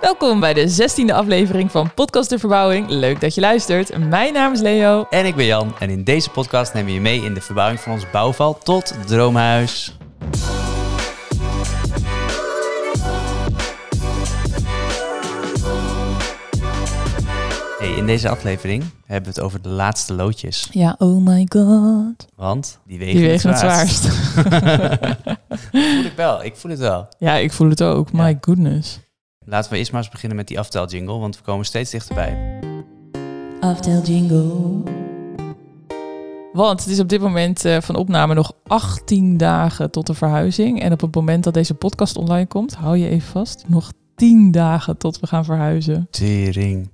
Welkom bij de 16e aflevering van Podcast de Verbouwing. Leuk dat je luistert. Mijn naam is Leo. En ik ben Jan en in deze podcast nemen we je mee in de verbouwing van ons bouwval tot het droomhuis. Hey, in deze aflevering hebben we het over de laatste loodjes, Ja, oh my god. want die wegen, Die wegen het het zwaarst. zwaarst. voel ik wel, ik voel het wel. Ja, ik voel het ook. My goodness. Laten we eerst maar eens beginnen met die afteljingle, want we komen steeds dichterbij. Aftel jingle. Want het is op dit moment eh, van opname nog 18 dagen tot de verhuizing. En op het moment dat deze podcast online komt, hou je even vast, nog 10 dagen tot we gaan verhuizen. Tering.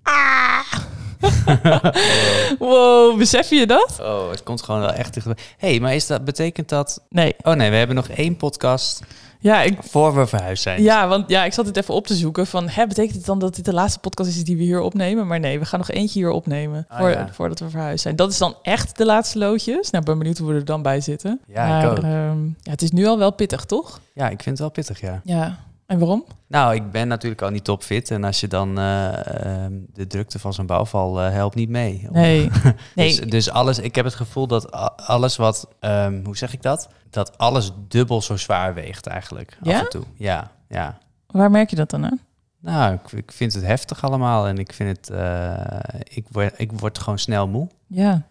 Wow, besef je dat? Oh, het komt gewoon wel echt dichterbij. hey, maar is dat, betekent dat... Nee. Oh nee, we hebben nog één podcast Ja, ik, voor we verhuisd zijn. Ja, want ja, ik zat dit even op te zoeken van, hè, betekent het dan dat dit de laatste podcast is die we hier opnemen? Maar nee, we gaan nog eentje hier opnemen Ah, voor, ja. voordat we verhuisd zijn. Dat is dan echt de laatste loodjes. Nou, ik ben benieuwd hoe we er dan bij zitten. Ja, ik Maar, ook. ehm, ja, het is nu al wel pittig, toch? Ja, ik vind het wel pittig, ja. Ja. En waarom? Nou, ik ben natuurlijk al niet topfit. En als je dan eh, ehm, de drukte van zo'n bouwval eh, helpt niet mee. Nee. Dus, nee. dus alles, ik heb het gevoel dat a- alles wat, ehm, hoe zeg ik dat? Dat alles dubbel zo zwaar weegt eigenlijk. Ja? Af en toe. Ja, ja. Waar merk je dat dan aan? Nou, ik, ik vind het heftig allemaal. En ik vind het, eh, ik, word, ik word gewoon snel moe. Ja.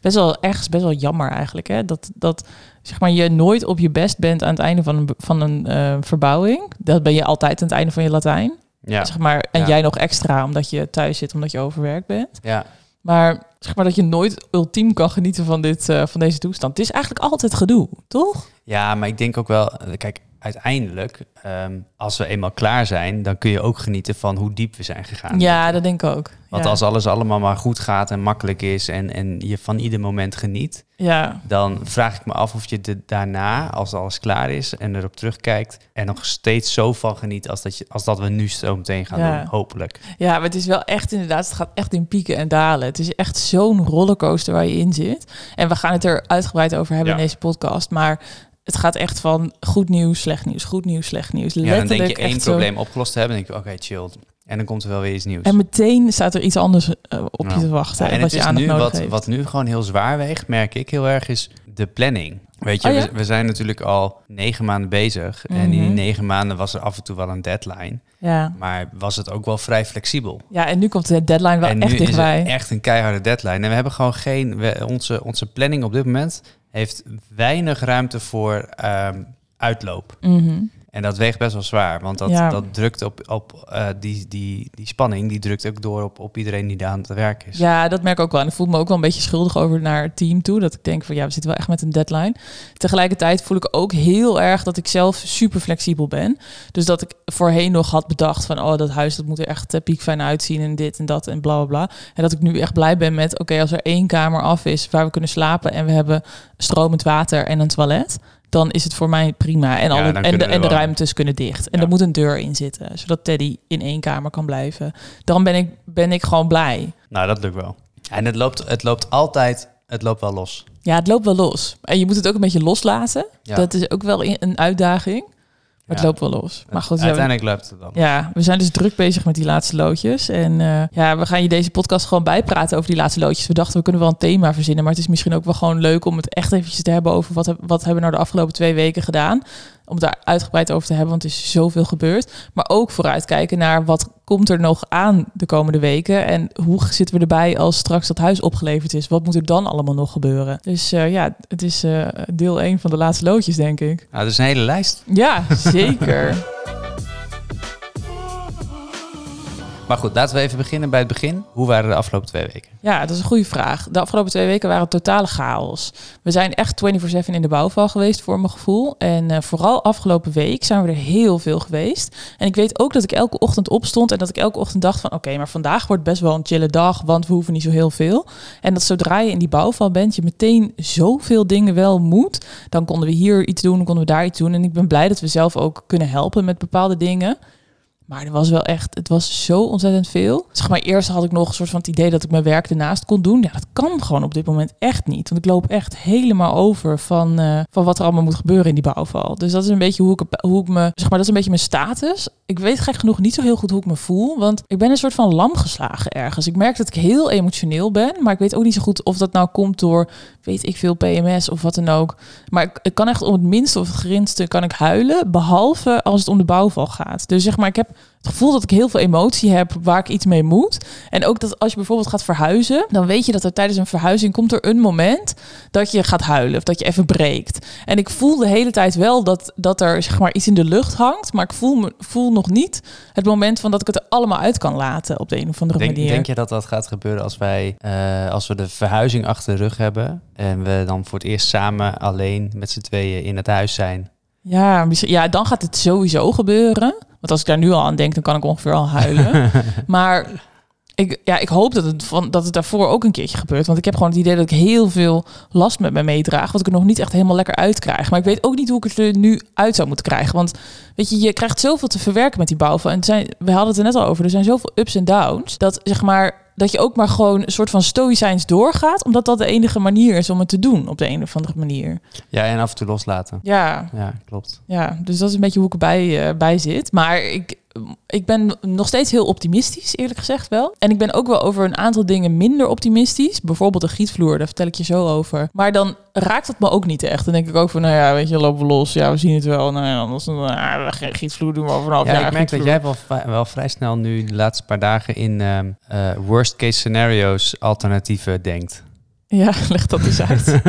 Best wel ergens best wel jammer eigenlijk, hè? Dat, dat zeg maar, je nooit op je best bent aan het einde van een, be- van een eh, verbouwing. Dat ben je altijd aan het einde van je Latijn. Ja, Zeg maar, en Ja. jij nog extra omdat je thuis zit, omdat je overwerkt bent. ja. Maar zeg maar dat je nooit ultiem kan genieten van, dit, eh, van deze toestand. Het is eigenlijk altijd gedoe, toch? ja, maar ik denk ook wel, eh, kijk, uiteindelijk, ehm, als we eenmaal klaar zijn, dan kun je ook genieten van hoe diep we zijn gegaan. ja, dat denk ik ook. Want ja. als alles allemaal maar goed gaat en makkelijk is en, en je van ieder moment geniet, ja. dan vraag ik me af of je de, daarna, als alles klaar is en erop terugkijkt, er nog steeds zo van geniet als dat, je, als dat we nu zo meteen gaan Ja. doen, hopelijk. ja, maar het is wel echt inderdaad, het gaat echt in pieken en dalen. Het is echt zo'n rollercoaster waar je in zit. En we gaan het er uitgebreid over hebben Ja. in deze podcast. Maar het gaat echt van goed nieuws, slecht nieuws, goed nieuws, slecht nieuws. Ja, dan denk je echt één zo. probleem opgelost te hebben en denk je, oké, chill. En dan komt er wel weer iets nieuws. En meteen staat er iets anders eh, op Ja. je te wachten. Ja, en wat het je is aandacht nu nodig wat, heeft. wat nu gewoon heel zwaar weegt, merk ik heel erg, is de planning. Weet je, Oh ja? we, we zijn natuurlijk al negen maanden bezig. En in die Mhm. negen maanden was er af en toe wel een deadline. ja. Maar was het ook wel vrij flexibel. ja, en nu komt de deadline wel en echt nu is dichtbij. het echt een keiharde deadline. En we hebben gewoon geen... we- onze, onze planning op dit moment heeft weinig ruimte voor ehm, uitloop. Mhm. En dat weegt best wel zwaar. Want dat, Ja. dat drukt op, op eh, die, die, die spanning. Die drukt ook door op, op iedereen die daar aan het werk is. Ja, dat merk ik ook wel. En ik voel me ook wel een beetje schuldig over naar het team toe. Dat ik denk van ja, we zitten wel echt met een deadline. Tegelijkertijd voel ik ook heel erg dat ik zelf super flexibel ben. Dus dat ik voorheen nog had bedacht van oh, dat huis dat moet er echt eh, piekfijn uitzien en dit en dat en bla bla bla. En dat ik nu echt blij ben met oké, als er één kamer af is waar we kunnen slapen en we hebben stromend water en een toilet. Dan is het voor mij prima. En, al Ja, de- en, dan de, kunnen we en de wel. ruimtes kunnen dicht. En Ja. er moet een deur in zitten, zodat Teddy in één kamer kan blijven. Dan ben ik, ben ik gewoon blij. Nou, dat lukt wel. En het loopt, het loopt altijd... Het loopt wel los. Ja, het loopt wel los. En je moet het ook een beetje loslaten. Ja. Dat is ook wel i- een uitdaging. Maar het Ja. loopt wel los. Maar goed, ja, we, Uiteindelijk loopt het dan. ja, we zijn dus druk bezig met die laatste loodjes. En eh, ja, we gaan je deze podcast gewoon bijpraten over die laatste loodjes. We dachten, we kunnen wel een thema verzinnen. Maar het is misschien ook wel gewoon leuk om het echt eventjes te hebben over wat, heb- wat hebben we nou de afgelopen twee weken gedaan. Om het daar uitgebreid over te hebben, want er is zoveel gebeurd. Maar ook vooruitkijken naar wat komt er nog aan de komende weken. En hoe zitten we erbij als straks dat huis opgeleverd is? Wat moet er dan allemaal nog gebeuren? Dus eh, ja, het is eh, deel 1 van de laatste loodjes, denk ik. Nou, dat is een hele lijst. Ja, zeker. Maar goed, laten we even beginnen bij het begin. Hoe waren de afgelopen twee weken? Ja, dat is een goede vraag. De afgelopen twee weken waren het totale chaos. We zijn echt 24-7 in de bouwval geweest, voor mijn gevoel. En eh, vooral afgelopen week zijn we er heel veel geweest. En ik weet ook dat ik elke ochtend opstond en dat ik elke ochtend dacht van... oké, maar vandaag wordt best wel een chille dag, want we hoeven niet zo heel veel. En dat zodra je in die bouwval bent, je meteen zoveel dingen wel moet. Dan konden we hier iets doen, dan konden we daar iets doen. En ik ben blij dat we zelf ook kunnen helpen met bepaalde dingen. Maar er was wel echt, het was zo ontzettend veel. Zeg maar, eerst had ik nog een soort van het idee dat ik mijn werk ernaast kon doen. Ja, dat kan gewoon op dit moment echt niet. Want ik loop echt helemaal over van, eh, van wat er allemaal moet gebeuren in die bouwval. Dus dat is een beetje hoe ik, het- hoe ik me, zeg maar, dat is een beetje mijn status. Ik weet gek genoeg niet zo heel goed hoe ik me voel. Want ik ben een soort van lam geslagen ergens. Ik merk dat ik heel emotioneel ben. Maar ik weet ook niet zo goed of dat nou komt door, weet ik veel, PMS of wat dan ook. Maar ik, ik kan echt om het minste of het geringste kan ik huilen, behalve als het om de bouwval gaat. Dus zeg maar, ik heb het gevoel dat ik heel veel emotie heb waar ik iets mee moet. En ook dat als je bijvoorbeeld gaat verhuizen, dan weet je dat er tijdens een verhuizing komt er een moment dat je gaat huilen of dat je even breekt. En ik voel de hele tijd wel dat, dat er zeg maar iets in de lucht hangt, maar ik voel, me, voel nog niet het moment van dat ik het er allemaal uit kan laten op de een of andere Denk, manier. denk je dat dat gaat gebeuren als wij, eh, als we de verhuizing achter de rug hebben en we dan voor het eerst samen alleen met z'n tweeën in het huis zijn? Ja, misschien- ja, dan gaat het sowieso gebeuren. Want als ik daar nu al aan denk, dan kan ik ongeveer al huilen. maar ik, ja, ik hoop dat het, van, dat het daarvoor ook een keertje gebeurt. Want ik heb gewoon het idee dat ik heel veel last met me meedraag. Wat ik er nog niet echt helemaal lekker uitkrijg. Maar ik weet ook niet hoe ik het er nu uit zou moeten krijgen. Want weet je, je krijgt zoveel te verwerken met die bouwval. En het zijn, we hadden het er net al over. Er zijn zoveel ups en downs. Dat zeg maar dat je ook maar gewoon een soort van stoïcijns doorgaat. Omdat dat de enige manier is om het te doen op de een of andere manier. Ja, en af en toe loslaten. Ja, Ja, klopt. ja, dus dat is een beetje hoe ik erbij eh, bij zit. Maar ik, ik ben nog steeds heel optimistisch, eerlijk gezegd wel. En ik ben ook wel over een aantal dingen minder optimistisch. Bijvoorbeeld de gietvloer, daar vertel ik je zo over. Maar dan raakt dat me ook niet echt. Dan denk ik ook van, nou ja, weet je, lopen we los. Ja, we zien het wel. Nou ja, anders ah, geen gietvloer doen we over een half ja, jaar. ik merk dat gietvloer. jij wel, va- wel vrij snel nu de laatste paar dagen in ehm, eh, worst case scenario's alternatieven denkt. Ja, leg dat eens uit.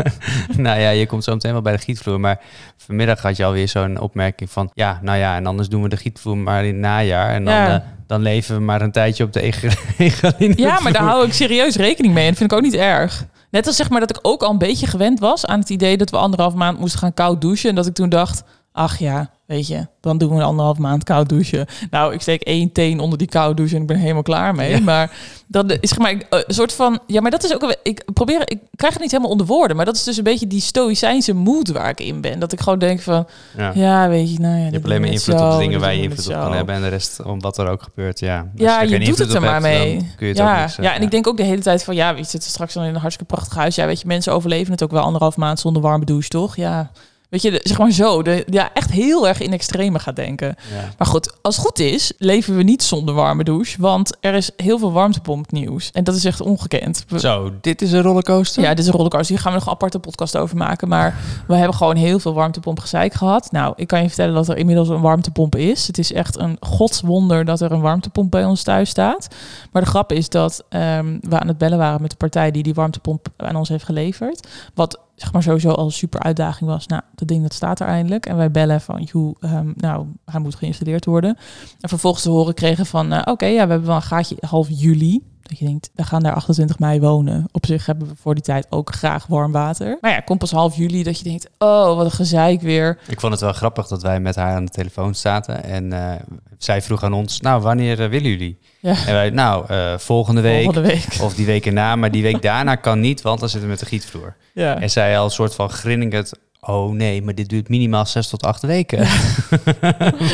nou ja, je komt zo meteen wel bij de gietvloer. Maar vanmiddag had je alweer zo'n opmerking van... ja, nou ja, en anders doen we de gietvloer maar in het najaar. En dan, Ja. eh, dan leven we maar een tijdje op de egaline Ja, maar daar hou ik serieus rekening mee. En dat vind ik ook niet erg. Net als zeg maar dat ik ook al een beetje gewend was aan het idee dat we anderhalf maand moesten gaan koud douchen. En dat ik toen dacht, ach ja, weet je, dan doen we anderhalf maand koud douchen. Nou, ik steek één teen onder die koude douche en ik ben er helemaal klaar mee. Ja. Maar dat is zeg maar eh, een soort van, ja, maar dat is ook, een- ik probeer, ik krijg het niet helemaal onder woorden. Maar dat is dus een beetje die stoïcijnse mood waar ik in ben. Dat ik gewoon denk van, Ja. ja, weet je, nou ja. Je hebt alleen maar invloed op de dingen waar je invloed op kan hebben. hebben en de rest om wat er ook gebeurt. Ja, Als Ja, je er geen doet invloed het er op maar hebt, mee. dan kun je het ook ja, niks, eh, ja, en ik denk ook de hele tijd van ja, we zitten straks dan in een hartstikke prachtig huis. Ja, weet je, mensen overleven het ook wel anderhalf maand zonder warme douche, toch? Ja, weet je, de- zeg maar zo. De, ja, echt heel erg in extreme gaat denken. ja. Maar goed, als het goed is, leven we niet zonder warme douche, want er is heel veel warmtepomp nieuws. En dat is echt ongekend. We- Zo, dit is een rollercoaster. ja, dit is een rollercoaster. Hier gaan we nog een aparte podcast over maken. Maar we hebben gewoon heel veel warmtepompgezeik gehad. Nou, ik kan je vertellen dat er inmiddels een warmtepomp is. Het is echt een godswonder dat er een warmtepomp bij ons thuis staat. Maar de grap is dat ehm, we aan het bellen waren met de partij die die warmtepomp aan ons heeft geleverd. Wat zeg maar sowieso al een super uitdaging was. Nou, dat ding dat staat er eindelijk. En wij bellen van, joh, ehm, nou, hij moet geïnstalleerd worden. En vervolgens te horen kregen van, eh, oké, ja, we hebben wel een gaatje half juli. Dat je denkt, we gaan daar 28 mei wonen. Op zich hebben we voor die tijd ook graag warm water. Maar ja, komt pas half juli dat je denkt, oh, wat een gezeik weer. Ik vond het wel grappig dat wij met haar aan de telefoon zaten. En eh, zij vroeg aan ons, nou, wanneer eh, willen jullie? Ja. En wij, nou, eh, volgende week. Volgende week. Of die week erna, maar die week daarna kan niet, want dan zitten we met de gietvloer. Ja. En zij al een soort van grinnikend, oh nee, maar dit duurt minimaal zes tot acht weken.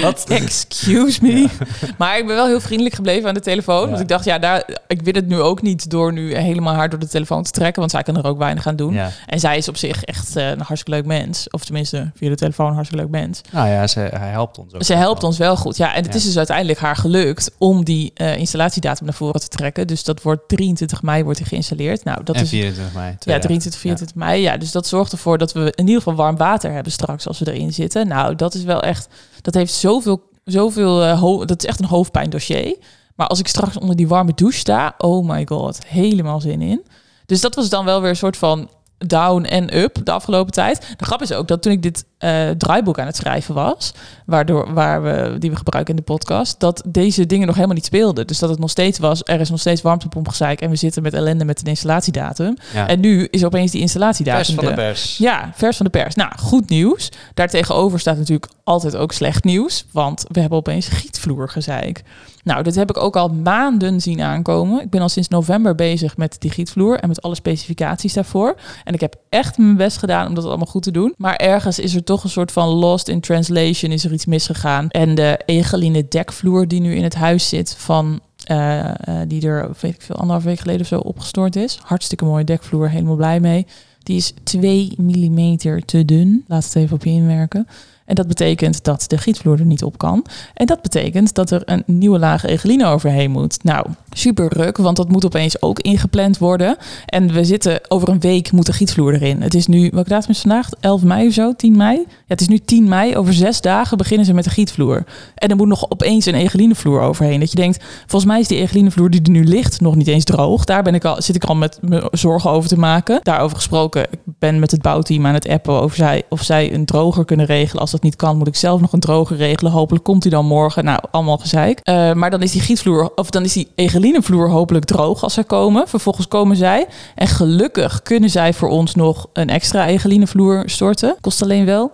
Wat? Excuse me. Maar ik ben wel heel vriendelijk gebleven aan de telefoon. Ja. Want ik dacht, ja, daar, ik wil het nu ook niet door nu helemaal haar door de telefoon te trekken. Want zij kan er ook weinig aan doen. Ja. En zij is op zich echt eh, een hartstikke leuk mens. Of tenminste, via de telefoon een hartstikke leuk mens. Nou ja, ze, hij helpt ons ook. Dus Ze helpt ons wel goed. Ja, en het Ja. is dus uiteindelijk haar gelukt om die eh, installatiedatum naar voren te trekken. Dus dat wordt 23 mei wordt hij geïnstalleerd. Nou, dat en is 24 mei. twee ja, dagen. 23, 24 mei. Ja, dus dat zorgt ervoor dat we in ieder geval warm water hebben straks als we erin zitten. Nou, dat is wel echt. Dat heeft zoveel. zoveel eh, ho- dat is echt een hoofdpijndossier. Maar als ik straks onder die warme douche sta, oh my god, helemaal zin in. Dus dat was dan wel weer een soort van down en up de afgelopen tijd. De grap is ook dat toen ik dit eh, draaiboek aan het schrijven was, waardoor, waar we, die we gebruiken in de podcast, dat deze dingen nog helemaal niet speelden. Dus dat het nog steeds was, er is nog steeds warmtepompgezeik en we zitten met ellende met een installatiedatum. Ja. En nu is opeens die installatiedatum. Pers van de er. pers. Ja, vers van de pers. Nou, goed nieuws. Daartegenover staat natuurlijk altijd ook slecht nieuws. Want we hebben opeens gietvloergezeik. Nou, dat heb ik ook al maanden zien aankomen. Ik ben al sinds november bezig met die gietvloer en met alle specificaties daarvoor. En ik heb echt mijn best gedaan om dat allemaal goed te doen. Maar ergens is er toch een soort van lost in translation is er iets misgegaan. En de egeline dekvloer die nu in het huis zit van... eh, eh, die er, weet ik veel, anderhalf week geleden of zo opgestort is. Hartstikke mooie dekvloer, helemaal blij mee. Die is 2 mm te dun. Laat het even op je inwerken. En dat betekent dat de gietvloer er niet op kan. En dat betekent dat er een nieuwe laag egeline overheen moet. Nou, super ruk, want dat moet opeens ook ingepland worden. En we zitten over een week moet de gietvloer erin. Het is nu, welke datum is vandaag? 11 mei of zo, 10 mei? Ja, het is nu 10 mei. Over zes dagen beginnen ze met de gietvloer. En er moet nog opeens een egelinevloer overheen. Dat je denkt, volgens mij is die egelinevloer die er nu ligt nog niet eens droog. Daar ben ik al, zit ik al met me zorgen over te maken. Daarover gesproken, ik ben met het bouwteam aan het appen over zij, of zij een droger kunnen regelen. Als dat niet kan, moet ik zelf nog een droger regelen. Hopelijk komt die dan morgen. Nou, allemaal gezeik. Eh, maar dan is die gietvloer, of dan is die egelinevloer hopelijk droog als zij komen. Vervolgens komen zij. En gelukkig kunnen zij voor ons nog een extra egelinevloer storten. Kost alleen wel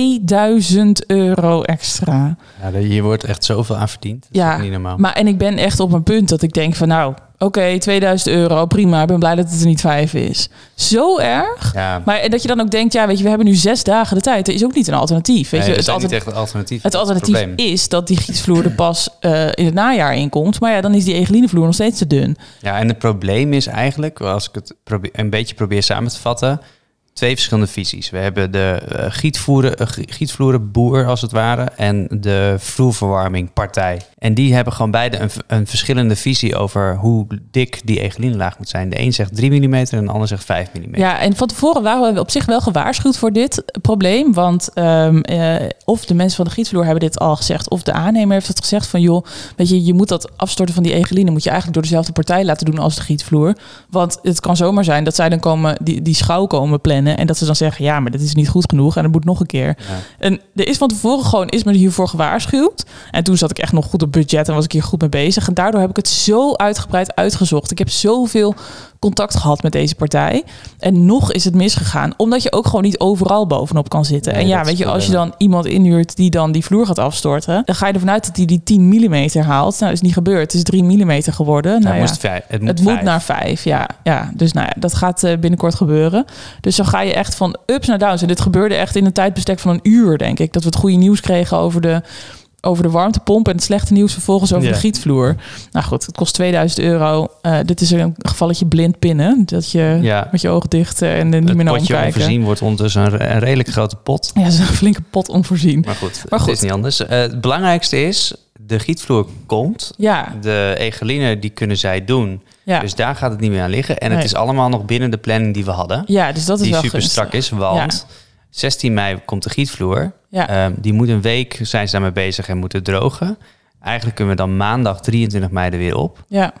2000 euro extra. Ja, de- hier wordt echt zoveel aan verdiend. Dat Ja, is ook niet normaal. Maar en ik ben echt op een punt dat ik denk van nou, oké, 2000 euro, prima. Ik ben blij dat het er niet vijf is. Zo erg. ja, Maar en dat je dan ook denkt, ja, weet je, we hebben nu zes dagen de tijd. Er is ook niet een alternatief. Weet je, nee, er het, zijn altern- niet echt een alternatief. het dat is alternatief probleem. is dat die gietvloer er pas eh, in het najaar inkomt. Maar ja, dan is die egelinevloer nog steeds te dun. Ja, en het probleem is eigenlijk, als ik het probeer, een beetje probeer samen te vatten, twee verschillende visies. We hebben de eh, gietvoeren, eh, gi- gietvloerenboer, als het ware, en de vloerverwarmingpartij. En die hebben gewoon beide een, v- een verschillende visie over hoe dik die egelinelaag moet zijn. De een zegt 3 mm en de ander zegt 5 mm. Ja, en van tevoren waren we op zich wel gewaarschuwd voor dit probleem. Want ehm, eh, of de mensen van de gietvloer hebben dit al gezegd, of de aannemer heeft het gezegd van joh, weet je, je moet dat afstorten van die egeline, moet je eigenlijk door dezelfde partij laten doen als de gietvloer. Want het kan zomaar zijn dat zij dan komen, die, die schouw komen plannen en dat ze dan zeggen, ja, maar dit is niet goed genoeg en dat moet nog een keer. En er is van tevoren gewoon, is me hiervoor gewaarschuwd. En toen zat ik echt nog goed op budget en was ik hier goed mee bezig. En daardoor heb ik het zo uitgebreid uitgezocht. Ik heb zoveel contact gehad met deze partij. En nog is het misgegaan, omdat je ook gewoon niet overal bovenop kan zitten. Nee, en ja, dat is weet je, het als je probleem. dan iemand inhuurt die dan die vloer gaat afstorten, dan ga je ervan uit dat hij die 10 mm haalt. Nou, dat is niet gebeurd. Het is 3 mm geworden. Nou, Nou, ja. moest vij- het moet, Het moet vijf. naar vijf, ja. ja. Dus nou ja, dat gaat eh, binnenkort gebeuren. Dus dan ga je echt van ups naar downs. En dit gebeurde echt in een tijdbestek van een uur, denk ik. Dat we het goede nieuws kregen over de, over de warmtepomp... en het slechte nieuws vervolgens over Ja. de gietvloer. Nou goed, het kost 2000 euro. Eh, dit is een gevalletje blind pinnen. Dat je Ja. met je ogen dicht eh, en er niet Het meer naar potje omkijken. onvoorzien wordt ondertussen een, re- een redelijk grote pot. Ja, dat is een flinke pot onvoorzien. Maar goed, Maar het goed. is niet anders. Eh, het belangrijkste is, de gietvloer komt. Ja, De egeline, die kunnen zij doen. ja. Dus daar gaat het niet meer aan liggen. En het Nee. is allemaal nog binnen de planning die we hadden. ja, dus dat is die wel super gunstig. strak is, want 16 mei komt de gietvloer. Ja. Ehm, die moet een week, zijn ze daarmee bezig en moeten drogen. Eigenlijk kunnen we dan maandag 23 mei er weer op. Ja,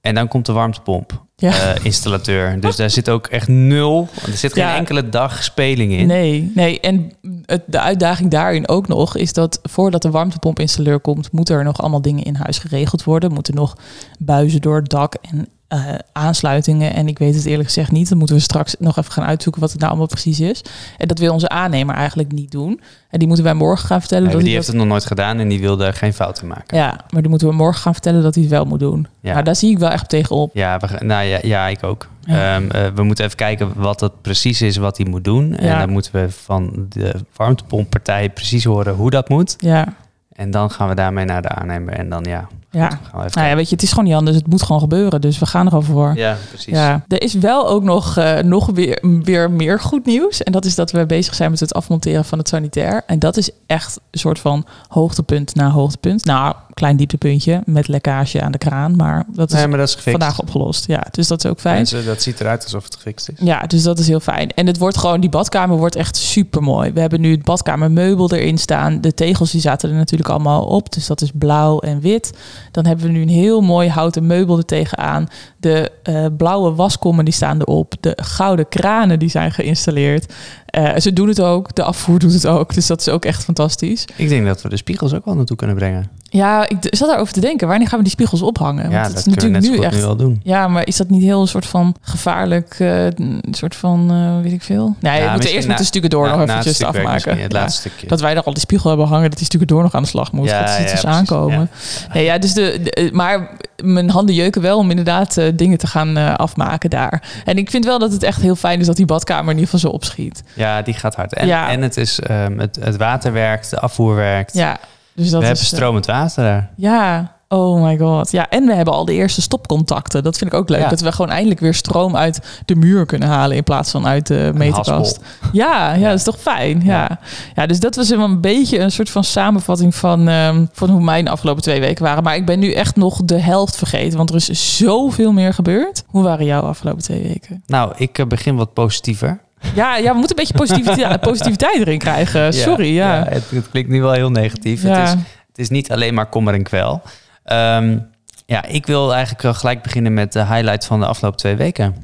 En dan komt de warmtepomp. Ja. eh, installateur. Dus daar zit ook echt nul. Er zit geen Ja. enkele dag speling in. Nee, nee. En het, de uitdaging daarin ook nog is dat voordat de warmtepompinstalleur komt, moeten er nog allemaal dingen in huis geregeld worden. Moeten nog buizen door het dak en eh, aansluitingen. En ik weet het eerlijk gezegd niet. Dan moeten we straks nog even gaan uitzoeken wat het nou allemaal precies is. En dat wil onze aannemer eigenlijk niet doen. En die moeten wij morgen gaan vertellen. Nee, dat die hij heeft dat- het nog nooit gedaan en die wilde geen fouten maken. ja, maar die moeten we morgen gaan vertellen dat hij het wel moet doen. Ja. Nou, daar zie ik wel echt tegenop. Ja, we, gaan- nou ja, ja, ik ook. Ja. Ehm, eh, we moeten even kijken wat dat precies is wat hij moet doen. En Ja. dan moeten we van de warmtepomppartij precies horen hoe dat moet. Ja, En dan gaan we daarmee naar de aannemer. En dan ja, ja. gaan we even Nou ja, weet je, het is gewoon niet anders. Het moet gewoon gebeuren. Dus we gaan erover voor. kijken. Ja, precies. Ja, er is wel ook nog, eh, nog weer, weer meer goed nieuws. En dat is dat we bezig zijn met het afmonteren van het sanitair. En dat is echt een soort van hoogtepunt na hoogtepunt. Nou, klein dieptepuntje met lekkage aan de kraan. Maar dat is Nee, maar dat is gefixt. vandaag opgelost. Ja, dus dat is ook fijn. Mensen, dat ziet eruit alsof het gefixt is. Ja, dus dat is heel fijn. En het wordt gewoon, die badkamer wordt echt super mooi. We hebben nu het badkamermeubel erin staan. De tegels die zaten er natuurlijk allemaal op. Dus dat is blauw en wit. Dan hebben we nu een heel mooi houten meubel er tegenaan. De eh, blauwe waskommen die staan erop. De gouden kranen die zijn geïnstalleerd. Eh, ze doen het ook. De afvoer doet het ook. Dus dat is ook echt fantastisch. Ik denk dat we de spiegels ook wel naartoe kunnen brengen. Ja, ik d- zat daarover te denken. Wanneer gaan we die spiegels ophangen? ja, Want het dat is kunnen we net natuurlijk zo nu goed echt nu wel doen. ja, maar is dat niet heel een soort van gevaarlijk, eh, een soort van, eh, weet ik veel? Nee, we moeten misschien eerst na- met de stukken door na- nog na het eventjes stukwerk afmaken. misschien, Het Ja. laatste stukje. Dat wij daar al die spiegel hebben hangen, dat die stukken door nog aan de slag moet. Ja, dat ziet ja, dus precies. aankomen. Ja. Nee, ja, dus de, de- maar mijn handen jeuken wel om inderdaad eh, dingen te gaan eh, afmaken daar. En ik vind wel dat het echt heel fijn is dat die badkamer in ieder geval zo opschiet. Ja, die gaat hard. En, Ja. en het, is, ehm, het, het water werkt, de afvoer werkt. Ja, dus dat is, we hebben eh, stromend water daar. Ja, oh my god. Ja, en we hebben al de eerste stopcontacten. Dat vind ik ook leuk. Ja. Dat we gewoon eindelijk weer stroom uit de muur kunnen halen in plaats van uit de meterkast. Ja, ja, Ja. dat is toch fijn. Ja. Ja. ja, dus dat was wel een beetje een soort van samenvatting van, ehm, van hoe mijn afgelopen twee weken waren. Maar ik ben nu echt nog de helft vergeten, want er is zoveel meer gebeurd. Hoe waren jouw afgelopen twee weken? Nou, ik eh, begin wat positiever. Ja, ja we moeten een beetje positiviteit, positiviteit erin krijgen. Eh, Sorry, ja. Ja, het, het klinkt nu wel heel negatief. Het, is, het is niet alleen maar kommer en kwel. Ehm, ja, ik wil eigenlijk wel gelijk beginnen met de highlight van de afgelopen twee weken.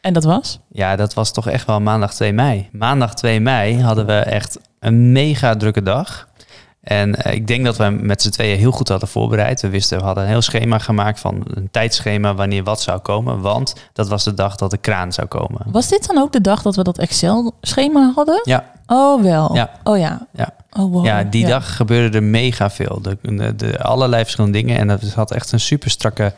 En dat was? Ja, dat was toch echt wel maandag 2 mei. Maandag 2 mei hadden we echt een mega drukke dag. En eh, ik denk dat we hem met z'n tweeën heel goed hadden voorbereid. We wisten, we hadden een heel schema gemaakt van een tijdschema wanneer wat zou komen. Want dat was de dag dat de kraan zou komen. Was dit dan ook de dag dat we dat Excel-schema hadden? Ja. Oh, wel. Ja. Oh ja. Ja. Oh, wow. Ja, die dag gebeurde er mega veel. De, de, de allerlei verschillende dingen. En dat had echt een super strakke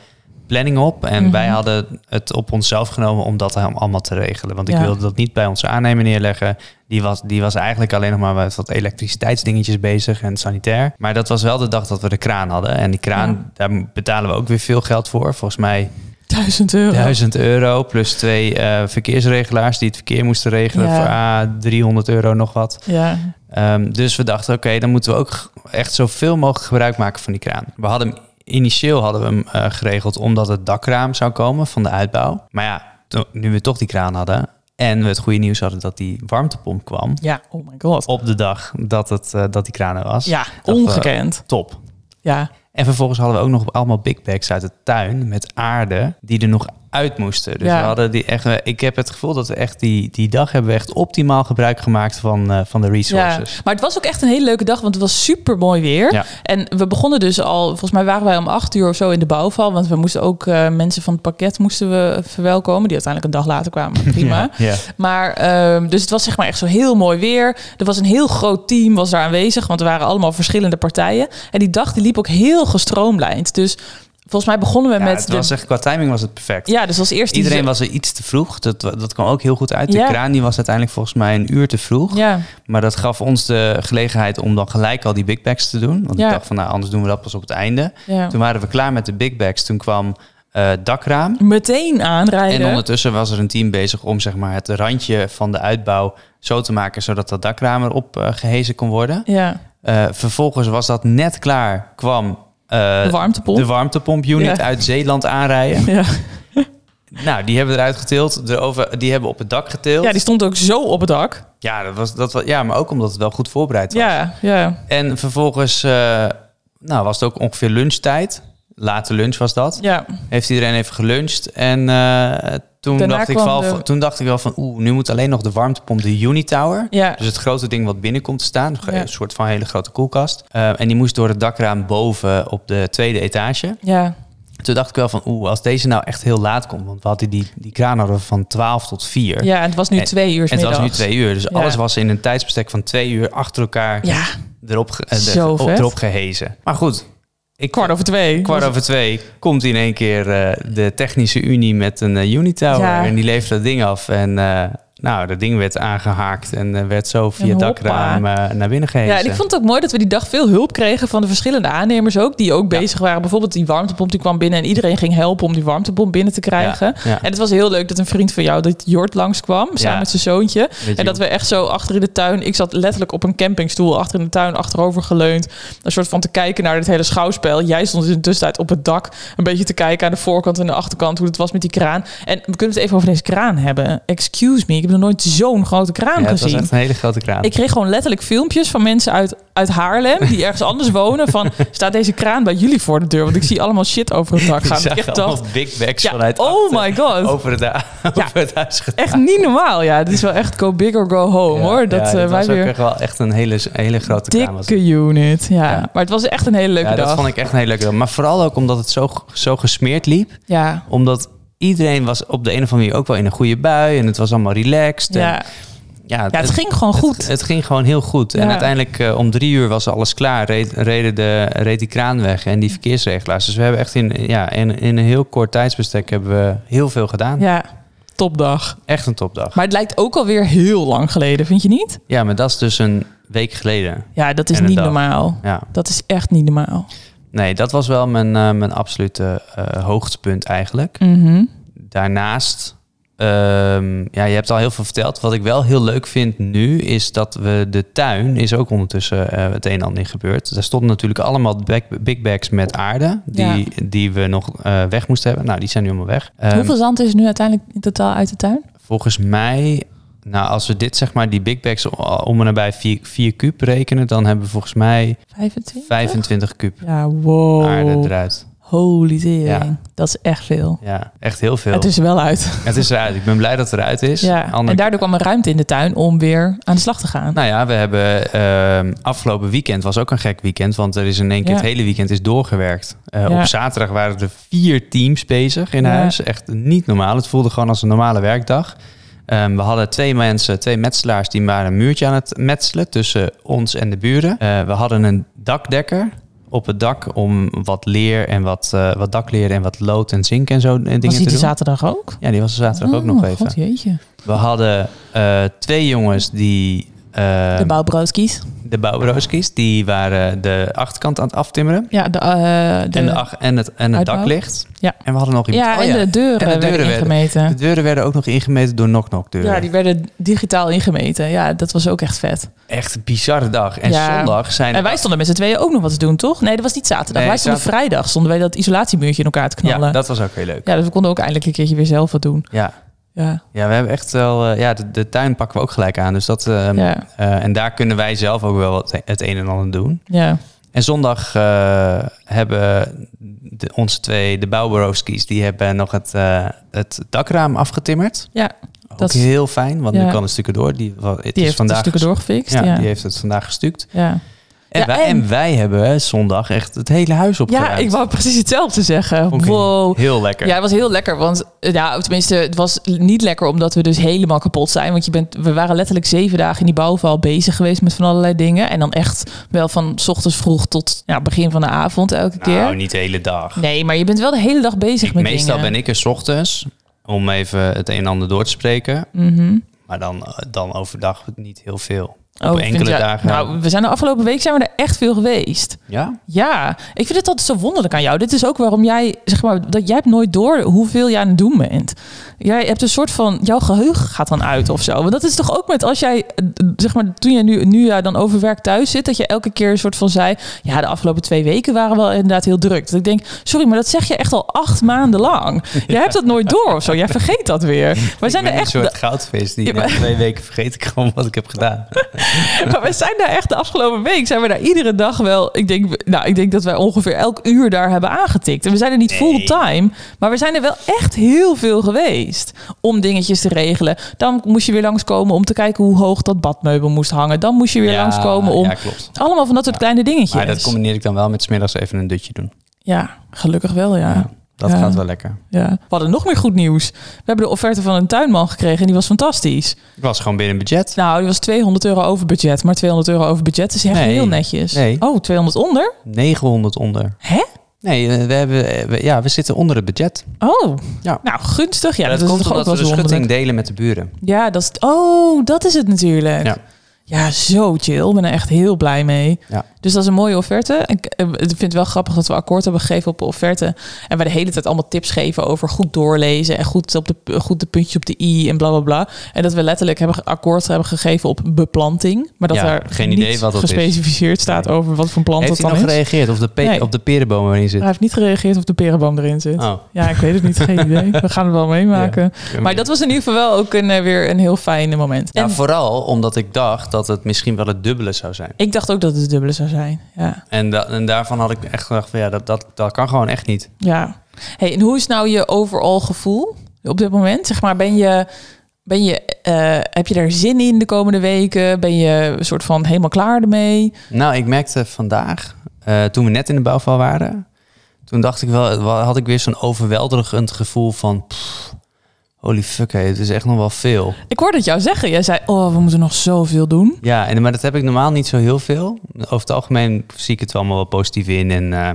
planning op. En Mhm. wij hadden het op onszelf genomen om dat hem allemaal te regelen. Want ik Ja. wilde dat niet bij onze aannemer neerleggen. Die was, die was eigenlijk alleen nog maar met wat elektriciteitsdingetjes bezig en sanitair. Maar dat was wel de dag dat we de kraan hadden. En die kraan, Ja. daar betalen we ook weer veel geld voor. Volgens mij Duizend euro. 1000 euro plus twee eh, verkeersregelaars die het verkeer moesten regelen. Ja. Voor ah, 300 euro nog wat. Ja. Ehm, dus we dachten, oké, dan moeten we ook g- echt zoveel mogelijk gebruik maken van die kraan. We hadden hem, initieel hadden we hem eh, geregeld omdat het dakraam zou komen van de uitbouw. Maar ja, to- nu we toch die kraan hadden en we het goede nieuws hadden dat die warmtepomp kwam Ja, oh my god. op de dag dat, het, eh, dat die kraan er was. Ja, eh, ongekend. Top. Ja. En vervolgens hadden we ook nog allemaal big bags uit de tuin met aarde die er nog uit moesten. Dus Ja. we hadden die echt, eh, ik heb het gevoel dat we echt die, die dag hebben we echt optimaal gebruik gemaakt van, eh, van de ja. resources. Maar het was ook echt een hele leuke dag, want het was super mooi weer. Ja. En we begonnen dus al, volgens mij waren wij om acht uur of zo in de bouwval. Want we moesten ook eh, mensen van het pakket moesten we verwelkomen. Die uiteindelijk een dag later kwamen. Prima. Ja, ja. Maar, ehm, dus het was zeg maar echt zo heel mooi weer. Er was een heel groot team was daar aanwezig, want er waren allemaal verschillende partijen. En die dag die liep ook heel gestroomlijnd. Dus volgens mij begonnen we Ja, met... het de- was echt, qua timing was het perfect. ja, dus als eerste... Iedereen was er iets te vroeg. Dat, dat kwam ook heel goed uit. De Ja. kraan die was uiteindelijk volgens mij een uur te vroeg. Ja, Maar dat gaf ons de gelegenheid om dan gelijk al die big bags te doen. Want Ja. ik dacht van, nou, anders doen we dat pas op het einde. ja. Toen waren we klaar met de big bags. Toen kwam eh dakraam. Meteen aanrijden. En ondertussen was er een team bezig om zeg maar, het randje van de uitbouw zo te maken... zodat dat dakraam erop eh, gehezen kon worden. Ja, Eh, vervolgens was dat net klaar, kwam... eh, de warmtepomp. de warmtepomp-unit Ja. uit Zeeland aanrijden. ja. Nou, die hebben eruit getild. Erover, die hebben op het dak getild. ja, Ja, die stond ook zo op het dak. dat was, dat was, ja, maar ook omdat het wel goed voorbereid was. Ja, ja, En vervolgens eh, nou, was het ook ongeveer lunchtijd. Late lunch was dat. ja. Heeft iedereen even geluncht. En eh, toen, Daarna dacht ik kwam wel, de- toen dacht ik wel van... Oeh, nu moet alleen nog de warmtepomp, de Unitower. ja. Dus het grote ding wat binnen komt te staan. Een Ja. soort van hele grote koelkast. Eh, en die moest door het dakraam boven op de tweede etage. Ja, Toen dacht ik wel van... Oeh, als deze nou echt heel laat komt. Want we hadden die, die kraan hadden we van 12 tot 4. ja, en het was nu Dus- En- twee uur En het was nu middags. twee uur. Dus Ja. alles was in een tijdsbestek van twee uur achter elkaar Ja, erop, ge- eh, de- Zo op- vet. erop gehezen. Maar goed, ik, kwart over twee. kwart over twee komt in één keer eh, de technische unie met een eh, Unitower. Ja. En die levert dat ding af. En eh, nou, dat ding werd aangehaakt en eh, werd zo via En het hoppa. dakraam eh, naar binnen gehezen. Ja, en ik vond het ook mooi dat we die dag veel hulp kregen van de verschillende aannemers ook. Die ook bezig waren. Bijvoorbeeld die warmtepomp die kwam binnen en iedereen ging helpen om die warmtepomp binnen te krijgen. Ja, ja. En het was heel leuk dat een vriend van jou, dat Jort, langskwam. Samen Ja. met zijn zoontje. Weet je En dat we echt zo achter in de tuin. Ik zat letterlijk op een campingstoel achter in de tuin, achterover geleund. Een soort van te kijken naar dit hele schouwspel. Jij stond in de tussentijd op het dak. Een beetje te kijken aan de voorkant en de achterkant. Hoe het was met die kraan. En we kunnen het even over deze kraan hebben. Excuse me, ik heb nog nooit zo'n grote kraan Ja, het was gezien. echt een hele grote kraan. Ik kreeg gewoon letterlijk filmpjes van mensen uit, uit Haarlem die ergens anders wonen. Van staat deze kraan bij jullie voor de deur? Want ik zie allemaal shit over het dak Ik gaan. zag Ik echt allemaal dacht, big bags ja, vanuit oh achter my god. over het, da- over het huis Echt niet normaal. Ja, dit is wel echt go big or go home Ja, hoor. Dat ja, eh, dit wij was ook weer echt wel echt een hele, hele grote kraan. was het. dikke unit. Ja. Ja. maar het was echt een hele leuke ja, dag. dat vond ik echt een hele leuke dag. Maar vooral ook omdat het zo, zo gesmeerd liep. Ja, Omdat iedereen was op de een of andere manier ook wel in een goede bui. En het was allemaal relaxed. En, ja. ja, Ja, het, ging gewoon goed. Het, het ging gewoon heel goed. En Ja. uiteindelijk eh, om drie uur was alles klaar. Reed, reden de, reed die kraan weg en die verkeersregelaars. Dus we hebben echt in, ja, in, in een heel kort tijdsbestek hebben we heel veel gedaan. ja, topdag. Echt een topdag. Maar het lijkt ook alweer heel lang geleden, vind je niet? Ja, maar dat is dus een week geleden. Ja, dat is En een niet dag. normaal. Ja. Dat is echt niet normaal. Nee, dat was wel mijn, eh, mijn absolute eh, hoogtepunt eigenlijk. Mhm. Daarnaast, ehm, ja, je hebt al heel veel verteld. Wat ik wel heel leuk vind nu, is dat we de tuin, is ook ondertussen eh, het een en ander in gebeurd. Daar stonden natuurlijk allemaal back- big bags met aarde, die, Ja. die we nog eh, weg moesten hebben. Nou, die zijn nu allemaal weg. Ehm, Hoeveel zand is er nu uiteindelijk in totaal uit de tuin? Volgens mij, nou, als we dit zeg maar, die big bags o- om en nabij 4, 4 kuub rekenen, dan hebben we volgens mij 25? 25 kuub Ja, wow. aarde eruit. Holy tering. Ja. Dat is echt veel. Ja, echt heel veel. Het is er wel uit. Het is eruit. Ik ben blij dat het eruit is. Ja. Ander- En daardoor kwam er ruimte in de tuin om weer aan de slag te gaan. Nou ja, we hebben ehm, afgelopen weekend was ook een gek weekend, want er is in één keer Ja. het hele weekend is doorgewerkt. Eh, Ja. Op zaterdag waren er vier teams bezig in Ja. huis. Echt niet normaal. Het voelde gewoon als een normale werkdag. Ehm, we hadden twee mensen, twee metselaars, die waren een muurtje aan het metselen tussen ons en de buren. Eh, we hadden een dakdekker op het dak om wat leer en wat, eh, wat dakleer en wat lood en zink en zo eh, dingen was te die die doen. zaterdag ook? Ja, die was er zaterdag ook Oh, nog even. God, jeetje. We hadden eh, twee jongens die eh, De bouwbroodskies. de bouwbureauskies, die waren de achterkant aan het aftimmeren. Ja, de, eh, de, en, de ach- en het, en het uitbouw. daklicht. Ja. En we hadden nog iemand. ja, oh en de deuren, En de deuren werden werden- ingemeten. De deuren werden ook nog ingemeten door knock-knock deuren. Ja, die werden digitaal ingemeten. Ja, dat was ook echt vet. Echt een bizarre dag. En Ja. zondag zijn... En wij stonden met z'n tweeën ook nog wat te doen, toch? Nee, dat was niet zaterdag. Nee, wij stonden zaterdag- vrijdag, stonden wij dat isolatiemuurtje in elkaar te knallen. ja, Ja, dat was ook heel leuk. dus we konden ook eindelijk een keertje weer zelf wat doen. Ja, Ja, ja we hebben echt wel... eh, ja, de, de tuin pakken we ook gelijk aan. Dus dat... ehm, ja, eh, en daar kunnen wij zelf ook wel wat, e- het een en ander doen. ja. En zondag eh, hebben de, onze twee, de bouwbureauskies, die hebben nog het, eh, het dakraam afgetimmerd. Ja, Ook dat is- heel fijn, want nu Ja. kan het stukken door. Die, wa- het Die is heeft vandaag vandaag stukken doorgefixt. Ja, Ja, ja. die heeft het vandaag gestuukt. ja. En, Ja, wij, en- en wij hebben zondag echt het hele huis opgeruimd. ik wou precies hetzelfde zeggen. Vond ik Wow. Heel lekker. Ja, het was heel lekker. Want eh, ja, tenminste, het was niet lekker omdat we dus helemaal kapot zijn. Want je bent, we waren letterlijk zeven dagen in die bouwval bezig geweest met van allerlei dingen. En dan echt wel van 's ochtends vroeg tot ja, begin van de avond elke keer. nou, niet de hele dag. Nee, maar je bent wel de hele dag bezig met Meestal dingen. ben ik er 's ochtends om even het een en ander door te spreken. Mhm. Maar dan, eh, dan overdag niet heel veel. Op Oh, ik vind enkele ja- dagen. Nou, we zijn de afgelopen week zijn we er echt veel geweest. ja? Ja, ik vind het altijd zo wonderlijk aan jou. Dit is ook waarom jij, zeg maar, dat jij hebt nooit door hoeveel jij aan het doen bent. Jij hebt een soort van, jouw geheugen gaat dan uit of zo. Want dat is toch ook met als jij, eh, zeg maar, toen jij nu, nu jij dan over werk thuis zit, dat je elke keer een soort van zei, ja, de afgelopen twee weken waren wel inderdaad heel druk. Dat ik denk, sorry, maar dat zeg je echt al acht maanden lang. Jij hebt dat nooit door of zo. Jij vergeet dat weer. Wij Ik zijn ben er een echt soort goudvis die Ja, na maar- twee weken vergeet ik gewoon wat ik heb gedaan. Maar we zijn daar echt de afgelopen week zijn we daar iedere dag wel. Ik denk, nou, ik denk dat wij ongeveer elk uur daar hebben aangetikt. En we zijn er niet Nee. fulltime. Maar we zijn er wel echt heel veel geweest. Om dingetjes te regelen. Dan moest je weer langskomen om te kijken hoe hoog dat badmeubel moest hangen. Dan moest je weer Ja, langskomen om. Ja, klopt. Allemaal van dat soort kleine dingetjes. Maar dat combineer ik dan wel met 's middags even een dutje doen. Ja, gelukkig wel, ja. Ja, ja. dat Ja. gaat wel lekker. We hadden nog meer goed nieuws. We hebben de offerte van een tuinman gekregen en die was fantastisch. Ik was gewoon binnen budget. Nou, die was 200 euro over budget. Maar 200 euro over budget is echt Nee. heel netjes. Nee. Oh, 200 onder? 900 onder. Hè? Nee, eh, we, hebben, eh, we- ja, we zitten onder het budget. Oh, Ja. nou gunstig. Ja, Maar dat, dat is komt toch ook omdat wel we de eens schutting wonderlijk. delen met de buren. Ja, dat is, oh, dat is het natuurlijk. Ja. Ja, zo chill. Ik ben er echt heel blij mee. Ja. Dus dat is een mooie offerte. Ik eh, ik vind het wel grappig dat we akkoord hebben gegeven op de offerte. En wij de hele tijd allemaal tips geven over goed doorlezen en goed, op de, goed de puntjes op de i en bla bla bla. En dat we letterlijk hebben ge- akkoord hebben gegeven op beplanting. Maar dat Ja, er geen niet idee wat dat is. gespecificeerd staat Nee. over wat voor plant Heeft dat hij dan nog is. gereageerd op de, pe- Nee. op de perenboom waarin zit? Hij heeft niet gereageerd of de perenboom erin zit. Oh. Ja, ik weet het niet. Geen idee. We gaan het wel meemaken. Maar dat was in ieder geval wel ook een, eh, weer een heel fijn moment. Ja, En vooral omdat ik dacht dat het misschien wel het dubbele zou zijn. ik dacht ook dat het het dubbele zou zijn. Ja. En, da- en daarvan had ik echt gedacht van ja, dat, dat, dat kan gewoon echt niet. ja. Hey, en hoe is nou je overal gevoel op dit moment? Zeg maar, ben je, ben je, eh, heb je daar zin in de komende weken? Ben je een soort van helemaal klaar ermee? Nou, ik merkte vandaag, eh, toen we net in de bouwval waren, toen dacht ik wel, wa- had ik weer zo'n overweldigend gevoel van, pff, oké, holy fuck, hé, het is echt nog wel veel. Ik hoorde het jou zeggen. Jij zei, oh, we moeten nog zoveel doen. Ja, en, maar dat heb ik normaal niet zo heel veel. Over het algemeen zie ik het allemaal wel positief in en eh,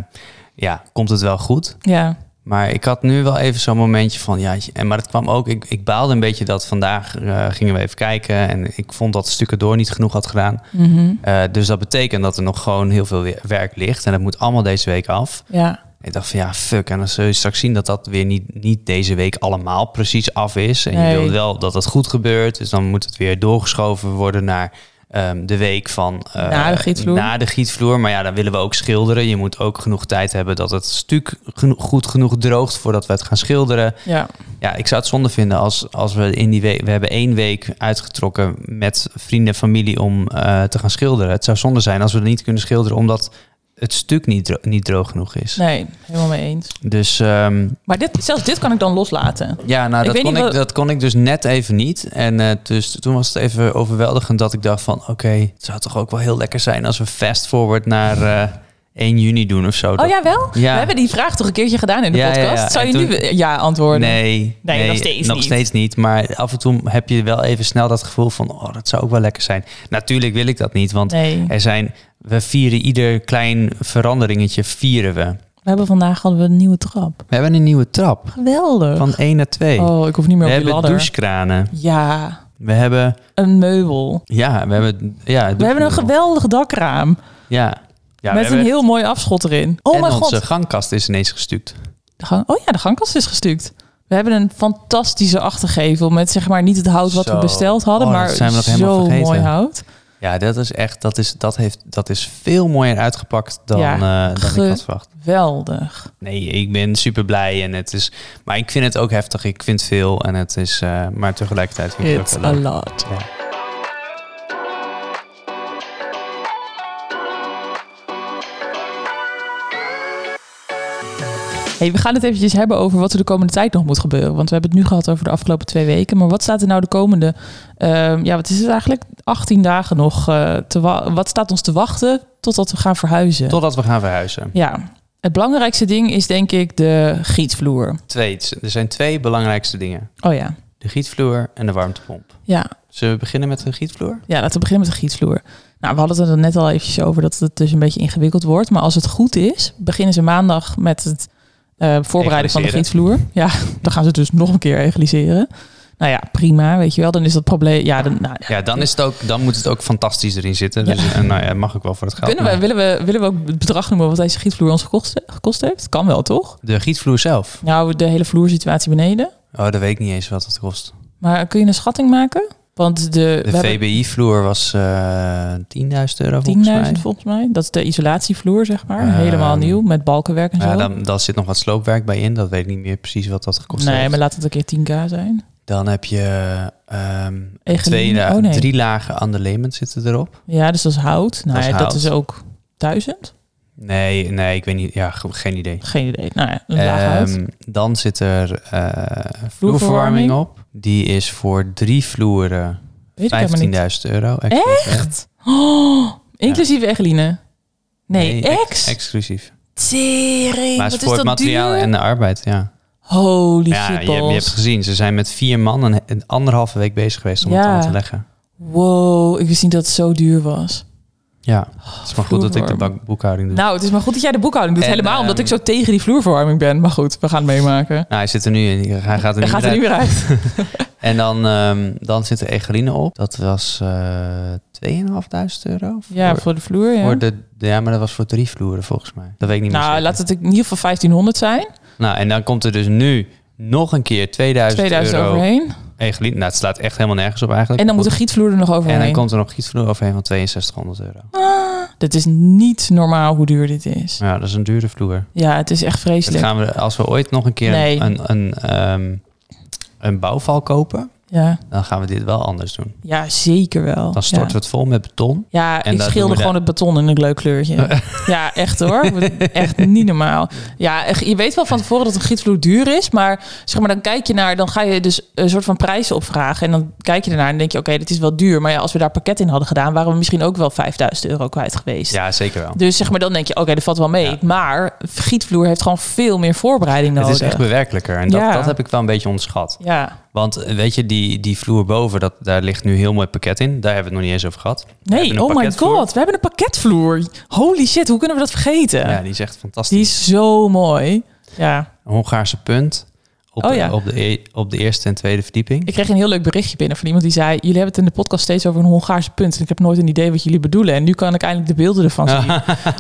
ja, komt het wel goed. Ja, Maar ik had nu wel even zo'n momentje van, ja, en, maar het kwam ook, ik, ik baalde een beetje dat vandaag eh, gingen we even kijken en ik vond dat stukken door niet genoeg had gedaan. Mhm. Eh, dus dat betekent dat er nog gewoon heel veel we- werk ligt en dat moet allemaal deze week af. ja, Ik dacht van ja, fuck. En dan zul je straks zien dat dat weer niet, niet deze week allemaal precies af is. En Nee. je wil wel dat het goed gebeurt. Dus dan moet het weer doorgeschoven worden naar ehm, de week van... eh, Na de gietvloer. na de gietvloer. Maar ja, dan willen we ook schilderen. Je moet ook genoeg tijd hebben dat het stuk geno- goed genoeg droogt voordat we het gaan schilderen. ja. Ja, ik zou het zonde vinden als, als we in die week... We hebben één week uitgetrokken met vrienden en familie om eh, te gaan schilderen. Het zou zonde zijn als we het niet kunnen schilderen omdat het stuk niet, dro- niet droog genoeg is. Nee, helemaal mee eens. Dus ehm, Maar dit, zelfs dit kan ik dan loslaten. ja, nou, Ik dat, weet kon niet ik, wat- dat kon ik dus net even niet. En eh, dus toen was het even overweldigend dat ik dacht van... oké, het zou toch ook wel heel lekker zijn als we fast forward naar eh, 1 juni doen of zo. Oh ja, wel? Ja. We hebben die vraag toch een keertje gedaan in de Ja, ja, ja. podcast? Zou je En nu we- ja antwoorden? Nee, Nee, nog steeds niet. niet. Maar af en toe heb je wel even snel dat gevoel van... oh, dat zou ook wel lekker zijn. Natuurlijk wil ik dat niet, want Nee. er zijn... we vieren ieder klein veranderingetje, vieren we. We hebben vandaag hadden we een nieuwe trap. We hebben een nieuwe trap Geweldig. van 1 naar 2. Oh, ik hoef niet meer we op die hebben ladder. douchekranen. Ja, We hebben... een meubel. Ja, we hebben... Ja, We hebben een geweldig dakraam Ja. ja met een heel mooi afschot erin. Oh en mijn god. onze gangkast is ineens gestuukt. De gang, oh ja, de gangkast is gestuukt. We hebben een fantastische achtergevel met zeg maar niet het hout wat Zo. we besteld hadden, Oh, dat maar zijn we nog helemaal zo vergeten. mooi hout. Ja, dat is echt, dat is, dat heeft, dat is veel mooier uitgepakt dan, Ja, eh, dan ge- ik had verwacht. Geweldig. Nee, ik ben super blij en het is, maar ik vind het ook heftig. Ik vind veel en het is, eh, maar tegelijkertijd vind ik het It's ook a wel leuk. lot. Ja. Hey, we gaan het eventjes hebben over wat er de komende tijd nog moet gebeuren. Want we hebben het nu gehad over de afgelopen twee weken. Maar wat staat er nou de komende, ehm, ja, wat is het eigenlijk? 18 dagen nog. eh, te wa- wat staat ons te wachten totdat we gaan verhuizen? Totdat we gaan verhuizen. Ja, het belangrijkste ding is denk ik de gietvloer. Twee, er zijn twee belangrijkste dingen: Oh ja, de gietvloer en de warmtepomp. ja. Zullen we beginnen met de gietvloer? Ja, laten we beginnen met de gietvloer. Nou, we hadden het er net al eventjes over dat het dus een beetje ingewikkeld wordt. Maar als het goed is, beginnen ze maandag met het eh, voorbereiden van de Egaliseren. gietvloer. Ja, dan gaan ze het dus nog een keer egaliseren. Nou ja, prima, weet je wel. Dan is dat probleem... Ja, dan, nou, Ja, dan, is het ook, dan moet het ook fantastisch erin zitten. Dus, eh, nou ja, mag ik wel voor het geld. kunnen we, maar- willen, we, willen we ook het bedrag noemen wat deze gietvloer ons gekost, gekost heeft? Kan wel, toch? De gietvloer zelf. Nou, de hele vloersituatie beneden. Oh, dat weet ik niet eens wat het kost. Maar kun je een schatting maken? Want de, De VBI-vloer was eh 10.000 euro volgens mij. 10.000 volgens mij. Dat is de isolatievloer, zeg maar. Ehm, Helemaal nieuw, met balkenwerk en zo. Ja, dan, dan zit nog wat sloopwerk bij in. Dat weet ik niet meer precies wat dat gekost nee, heeft. maar laat het een keer 10k zijn. Dan heb je ehm, Echt twee, niet? la- Oh, nee. drie lagen anderlement zitten erop. Ja, dus dat is hout. Nou Dat is ja, hout. dat is ook duizend. Nee, nee, ik weet niet. Ja, ge- geen idee. Geen idee. Nou ja, een laag hout. Ehm, dan zit er eh vloerverwarming op. Die is voor drie vloeren 15.000 Weet ik helemaal niet. euro. Exclusief, hè? Echt? Oh, inclusief Egeline. Nee, ex- ex. Exclusief. Tering, Maar wat het is is dat voor het materiaal duur? en de arbeid, ja. Holy Ja, shit, je, hebt- je hebt balls. gezien, ze zijn met vier man een, een anderhalve week bezig geweest om Ja. het allemaal te leggen. Wow, ik wist niet dat het zo duur was. Ja, het is maar goed dat ik de Vloerwarm. bak- boekhouding doe. Nou, Nou, het is maar goed dat jij de boekhouding doet. En, helemaal omdat ehm, ik zo tegen die vloerverwarming ben. Maar goed, we gaan het meemaken. Nou, hij zit er nu in, hij gaat er Hij nu gaat er uit. niet meer uit. En dan, ehm, dan zit er Egeline op. Dat was eh 2.500 euro. Ja, voor, voor de vloer, ja. voor de, ja, maar dat was voor drie vloeren volgens mij. Dat weet ik niet meer nou, zeker. laat het in ieder geval 1500 zijn. Nou, en dan komt er dus nu nog een keer 2000, 2000 euro overheen. Egeline. Nou, het slaat echt helemaal nergens op eigenlijk. En dan moet de gietvloer er nog en overheen. dan komt er nog gietvloer overheen van 6200 euro. Dit is niet normaal hoe duur dit is. Ja, dat is een dure vloer. Ja, het is echt Dat vreselijk. gaan we, als we ooit nog een keer Nee. een, een, ehm, een bouwval kopen, Ja, dan gaan we dit wel anders doen. ja zeker wel. Dan storten ja. we het vol met beton. Ja, En ik dat schilder doen we gewoon het beton in een leuk kleurtje. ja, echt hoor. Echt niet normaal. Ja, echt, je weet wel van tevoren dat een gietvloer duur is. Maar zeg maar, dan kijk je naar... Dan ga je dus een soort van prijzen opvragen. En dan kijk je ernaar en denk je... Oké, dit is wel duur. Maar ja, als we daar pakket in hadden gedaan... waren we misschien ook wel 5000 euro kwijt geweest. Ja, zeker wel. Dus zeg maar, dan denk je... Oké, dat valt wel mee. Ja. Maar gietvloer heeft gewoon veel meer voorbereiding nodig. Het is echt bewerkelijker. En dat, Ja. dat heb ik wel een beetje onderschat. Ja. Want eh, weet je, die, die vloer boven, dat, daar ligt nu heel mooi pakket in. Daar hebben we het nog niet eens over gehad. We hebben Nee, een oh my pakketvloer. god. We hebben een pakketvloer. Holy shit, hoe kunnen we dat vergeten? Ja, die is echt fantastisch. Die is zo mooi. Ja. Een Hongaarse punt op, Oh ja. op, de, e- op de eerste en tweede verdieping. Ik kreeg een heel leuk berichtje binnen van iemand die zei... jullie hebben het in de podcast steeds over een Hongaarse punt... en ik heb nooit een idee wat jullie bedoelen. En nu kan ik eindelijk de beelden ervan zien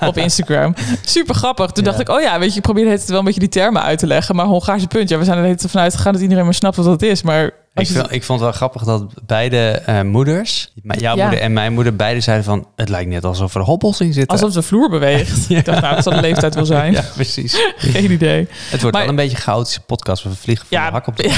op Instagram. Super grappig. Toen Ja. dacht ik, oh ja, weet je... ik probeerde het wel een beetje die termen uit te leggen. Maar Hongaarse punt, ja, we zijn er de hele tijd vanuit gegaan... dat iedereen maar snapt wat dat is. Maar Ik, als je- vind- ik vond het wel grappig dat beide eh, moeders, maar jouw Ja. moeder en mijn moeder, beide zeiden van... het lijkt net alsof er hobbels in zitten. alsof de vloer beweegt. Ik dacht, nou, dat zal de leeftijd wel zijn. Ja, precies. Geen idee. Het wordt Maar- wel een beetje een chaotische podcast. We vliegen van Ja. de hak op de...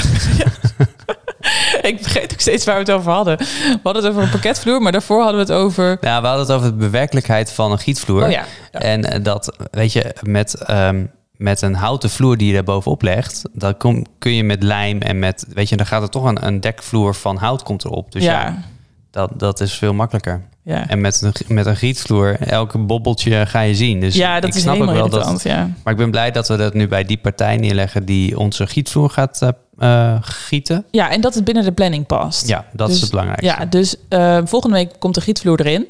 Ik vergeet ook steeds waar we het over hadden. We hadden het over een pakketvloer, maar daarvoor hadden we het over... Nou, we hadden het over de bewerkelijkheid van een gietvloer. Oh ja, En eh, dat, weet je, met, ehm, met een houten vloer die je daar bovenop legt, dan kom, kun je met lijm en met, weet je, dan gaat er toch een, een dekvloer van hout komt erop. Dus ja, ja. dat, dat is veel makkelijker. ja. En met een, met een gietvloer, elke bobbeltje ga je zien. Dus Ja, dat ik is snap ook helemaal wel dat. irritant, ja. Maar ik ben blij dat we dat nu bij die partij neerleggen die onze gietvloer gaat eh, eh, gieten. Ja, en dat het binnen de planning past. Ja, dat Dus- is het belangrijkste. Ja, dus eh, volgende week komt de gietvloer erin.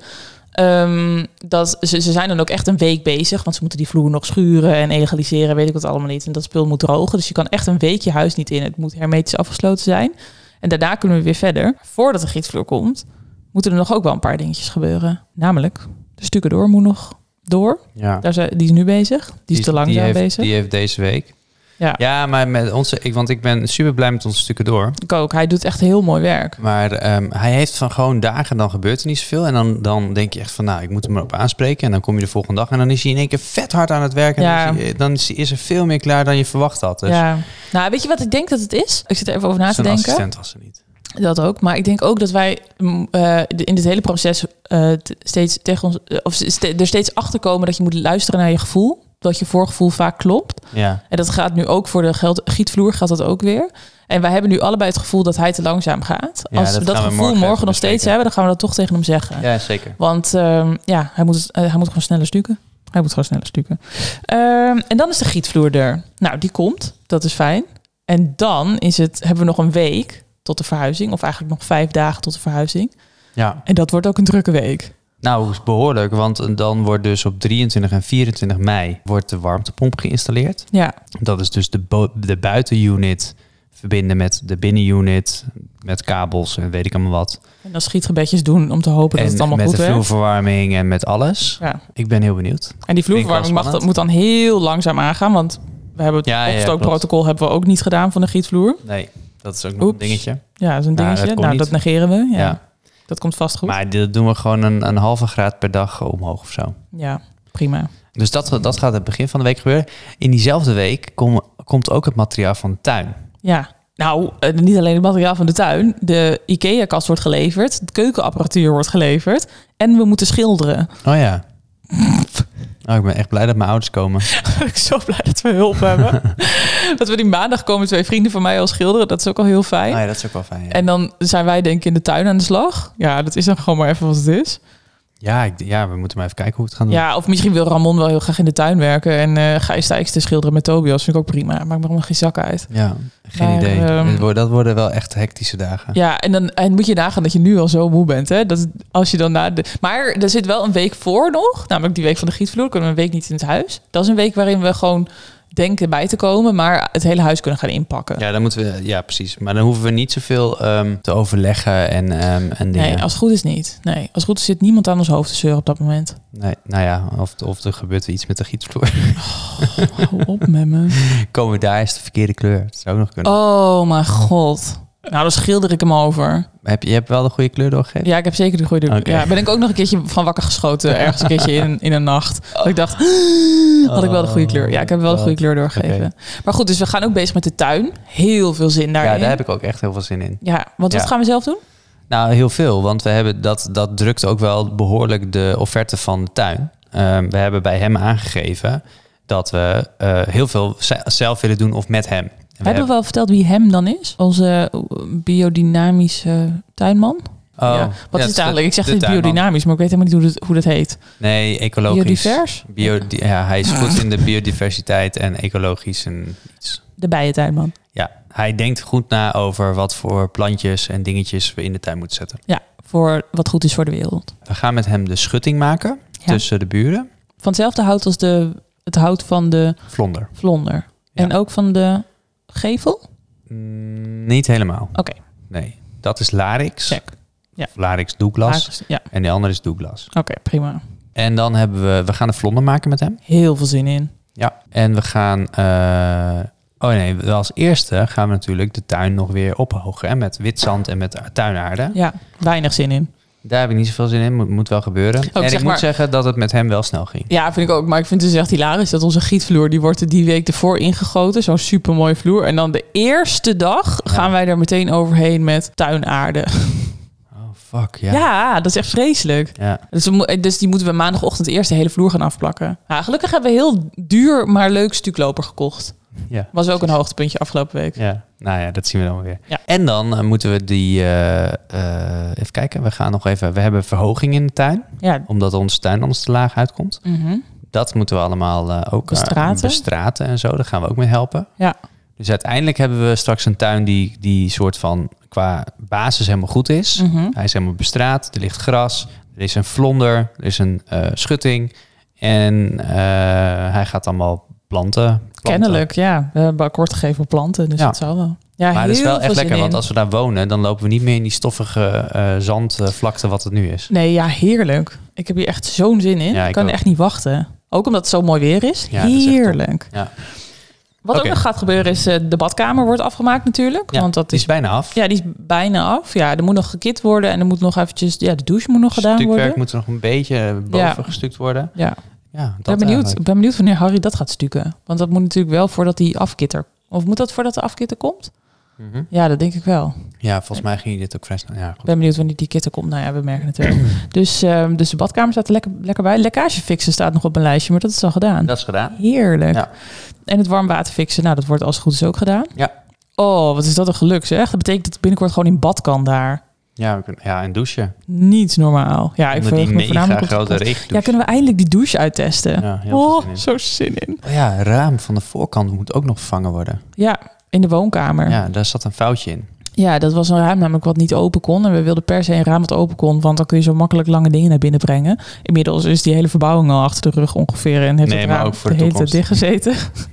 Ehm, dat, ze, ze zijn dan ook echt een week bezig, want ze moeten die vloer nog schuren en egaliseren, weet ik wat allemaal niet. En dat spul moet drogen, dus je kan echt een week je huis niet in. Het moet hermetisch afgesloten zijn. En daarna kunnen we weer verder. Voordat de gietvloer komt, moeten er nog ook wel een paar dingetjes gebeuren. Namelijk, de stukken door moet nog door. Ja. Daar zijn, die is nu bezig. Die, is te langzaam heeft- bezig. Die heeft deze week. Ja. ja, maar met onze, ik, want ik ben super blij met onze stukken door. Ik ook. Hij doet echt heel mooi werk. Maar ehm, hij heeft van gewoon dagen, dan gebeurt er niet zoveel. En dan, dan denk je echt van, nou, ik moet hem erop aanspreken. En dan kom je de volgende dag en dan is hij in één keer vet hard aan het werken. Ja. En dan is, hij- dan is, hij- is er veel meer klaar dan je verwacht had. Dus Ja. Nou, weet je wat ik denk dat het is? Ik zit er even over na te zijn denken. assistent was er niet. Dat ook. Maar ik denk ook dat wij mm, eh, de- in dit hele proces eh, t- steeds tegen ons, eh, of ste- er steeds achter komen dat je moet luisteren naar je gevoel. Dat je voorgevoel vaak klopt. Ja, En dat gaat nu ook voor de geld, gietvloer gaat dat ook weer. En wij hebben nu allebei het gevoel dat hij te langzaam gaat. Ja, Als dat we dat gaan we gevoel morgen morgen, even nog steeds bespreken. hebben, dan gaan we dat toch tegen hem zeggen. ja zeker. Want ehm, ja, hij moet, het- eh, hij moet gewoon sneller stukken. Hij moet gewoon sneller stukken. Ehm, en dan is de gietvloer er. Nou, die komt. Dat is fijn. En dan is het, hebben we nog een week tot de verhuizing. Of eigenlijk nog vijf dagen tot de verhuizing. Ja. En dat wordt ook een drukke week. Nou, is behoorlijk. Want dan wordt dus op 23 en 24 mei wordt de warmtepomp geïnstalleerd. Ja, Dat is dus de, bo- de buitenunit verbinden met de binnenunit. Met kabels en weet ik allemaal wat. en dan schietgebedjes doen om te hopen dat en het allemaal met goed de werkt. vloerverwarming en met alles. Ja. Ik ben heel benieuwd. En die vloerverwarming mag, spannend. dat moet dan heel langzaam aangaan. Want we hebben het Ja, ja, opstookprotocol hebben we ook niet gedaan van de gietvloer. Nee, dat is ook nog Oeps. een dingetje. Ja, dat is een Nou, dingetje. dat kon nou, niet. dat negeren we. Ja, Ja. Dat komt vast goed. Maar dit doen we gewoon een, een halve graad per dag omhoog of zo. Ja, prima. Dus dat, dat gaat het begin van de week gebeuren. In diezelfde week kom- komt ook het materiaal van de tuin. Ja, nou, eh, niet alleen het materiaal van de tuin. De IKEA-kast wordt geleverd, de keukenapparatuur wordt geleverd. En we moeten schilderen. Oh ja. Ah Oh, ik ben echt blij dat mijn ouders komen. ik ben zo blij dat we hulp hebben. dat we die maandag komen twee vrienden van mij al schilderen. Dat is ook al heel fijn. Oh ja, dat is ook wel fijn. Ja, En dan zijn wij denk ik in de tuin aan de slag. Ja, dat is dan gewoon maar even wat het is. ja, ik, ja we moeten maar even kijken hoe we het gaan doen. Ja, of misschien wil Ramon wel heel graag in de tuin werken. En eh ga je te schilderen met Tobias. Vind ik ook prima. Maakt me helemaal geen zak uit. Ja, geen Maar, idee. ehm, Dit wordt- dat worden wel echt hectische dagen. Ja, en dan en moet je nagaan dat je nu al zo moe bent. Hè? Dat als je dan na de, maar er zit wel een week voor nog, namelijk die week van de gietvloer, kunnen we een week niet in het huis. Dat is een week waarin we gewoon denken bij te komen, maar het hele huis kunnen gaan inpakken. Ja, dan moeten we, ja, precies. Maar dan hoeven we niet zoveel ehm, te overleggen en, ehm, en dingen. nee, als het goed is niet. Nee, als het goed is zit niemand aan ons hoofd te zeuren op dat moment. Nee, nou ja, of, of er gebeurt weer iets met de gietvloer. Hou op met me. Komen daar is de verkeerde kleur. Dat zou ook nog kunnen. Oh mijn god. Nou, daar schilder ik hem over. Heb je, je hebt wel de goede kleur doorgegeven? Ja, ik heb zeker de goede Oké. Ja, ben ik ook nog een keertje van wakker geschoten. Ergens een keertje in, in een nacht. Dat ik dacht, "Ah, had ik wel de goede kleur. Ja, ik heb wel de goede kleur doorgegeven. Oh, Oké. Maar goed, dus we gaan ook bezig met de tuin. Heel veel zin daarin. Ja, daar heb ik ook echt heel veel zin in. Ja, want wat Ja. gaan we zelf doen? Nou, heel veel. Want we hebben dat, dat drukt ook wel behoorlijk de offerte van de tuin. Ehm, we hebben bij hem aangegeven dat we eh, heel veel ze- zelf willen doen of met hem. En we hebben we al verteld wie hem dan is? Onze eh, biodynamische tuinman? Oh, ja. ja, Wat dat is het de- eigenlijk? Ik zeg de dit tuinman. biodynamisch, maar ik weet helemaal niet hoe dat, hoe dat heet. Nee, ecologisch. Biodivers? Bio- di- ja, hij is Ah. goed in de biodiversiteit en ecologisch en iets. De bijentuinman. Ja, hij denkt goed na over wat voor plantjes en dingetjes we in de tuin moeten zetten. Voor wat goed is voor de wereld. We gaan met hem de schutting maken Ja. tussen de buren. Van hetzelfde hout als de, het hout van de Vlonder. vlonder. Ja. En ook van de gevel? Mm, niet helemaal. Oké. Nee, dat is Larix. Check. Ja. Of Larix Douglas. Lakens- Ja, En de andere is Douglas. oké, prima. En dan hebben we... We gaan een vlonder maken met hem. Heel veel zin in. Ja. En we gaan... eh, oh nee, we- als eerste gaan we natuurlijk de tuin nog weer ophogen. Hè, met wit zand en met tuinaarde. Ja, weinig zin in. Daar heb ik niet zoveel zin in. Moet, moet wel gebeuren. en Oh, zeg ik maar- moet zeggen dat het met hem wel snel ging. Ja, vind ik ook. Maar ik vind het dus echt hilarisch dat onze gietvloer... die wordt er die week ervoor ingegoten. Zo'n supermooie vloer. En dan de eerste dag Ja. gaan wij er meteen overheen met tuinaarde. Oh, fuck. Ja. Ja, dat is echt vreselijk. ja. Dus, we mo- dus die moeten we maandagochtend eerst de hele vloer gaan afplakken. Ja, gelukkig hebben we heel duur, maar leuk stukloper gekocht. ja. Was ook een hoogtepuntje afgelopen week. Ja, nou ja, dat zien we dan weer. Ja. En dan eh, moeten we die... eh, eh, even kijken, we gaan nog even... We hebben verhoging in de tuin, Ja. omdat onze tuin anders te laag uitkomt. Mhm. Dat moeten we allemaal eh, ook eh, Bestraten. bestraten en zo. Daar gaan we ook mee helpen. Ja. Dus uiteindelijk hebben we straks een tuin die, die soort van qua basis helemaal goed is. Mhm. Hij is helemaal bestraat, er ligt gras, er is een vlonder, er is een eh, schutting. En eh, hij gaat allemaal planten. planten. Kennelijk, ja. We hebben akkoord gegeven op planten, dus Ja. dat zal wel. Ja, Maar dat is heel wel veel echt zin lekker, want in. als we daar wonen, dan lopen we niet meer in die stoffige eh, zandvlakte wat het nu is. Nee, ja, heerlijk. Ik heb hier echt zo'n zin in. Ja, ik ik kan ook. echt niet wachten. Ook omdat het zo mooi weer is. Ja, dat is echt top. heerlijk. Ja. Wat Oké. ook nog gaat gebeuren is eh, de badkamer wordt afgemaakt natuurlijk. Ja, want dat Die is, is bijna af. ja, die is bijna af. Ja, er moet nog gekit worden en er moet nog eventjes... Ja, de douche moet nog gedaan Stukwerk worden. moet er nog een beetje eh, boven Ja. gestuukt worden. Ja, Ja, ik ben, dat benieuwd, eigenlijk. ik ben benieuwd wanneer Harry dat gaat stukken. Want dat moet natuurlijk wel voordat die afkitter... Of moet dat voordat de afkitter komt? Mhm. Ja, dat denk ik wel. Ja, volgens mij ging je dit ook vrij snel. Ja, Ik goed. ben benieuwd wanneer die kitter komt. Nou ja, we merken het wel. dus, ehm, dus de badkamer staat er lekker, lekker bij. Lekkage fixen staat nog op mijn lijstje, maar dat is al gedaan. Dat is gedaan. Heerlijk. Ja. En het warm water fixen, nou, dat wordt als het goed is ook gedaan. Ja. Oh, wat is dat een geluk zeg. Dat betekent dat ik binnenkort gewoon in bad kan daar. Ja, we kunnen, ja en douchen. Niet normaal. Ja, ik Onder verheug die me mega voornamelijk op de grote pot. regendouche. Ja, kunnen we eindelijk die douche uittesten? Ja, heel veel oh, zin in. zo zin in. Oh ja, raam van de voorkant moet ook nog vervangen worden. Ja, in de woonkamer. Ja. Ja, daar zat een foutje in. dat was een ruim namelijk wat niet open kon. En we wilden per se een raam wat open kon, want dan kun je zo makkelijk lange dingen naar binnen brengen. Inmiddels is die hele verbouwing al achter de rug ongeveer en heeft Nee, het maar raam ook voor de de hele tijd dichtgezeten.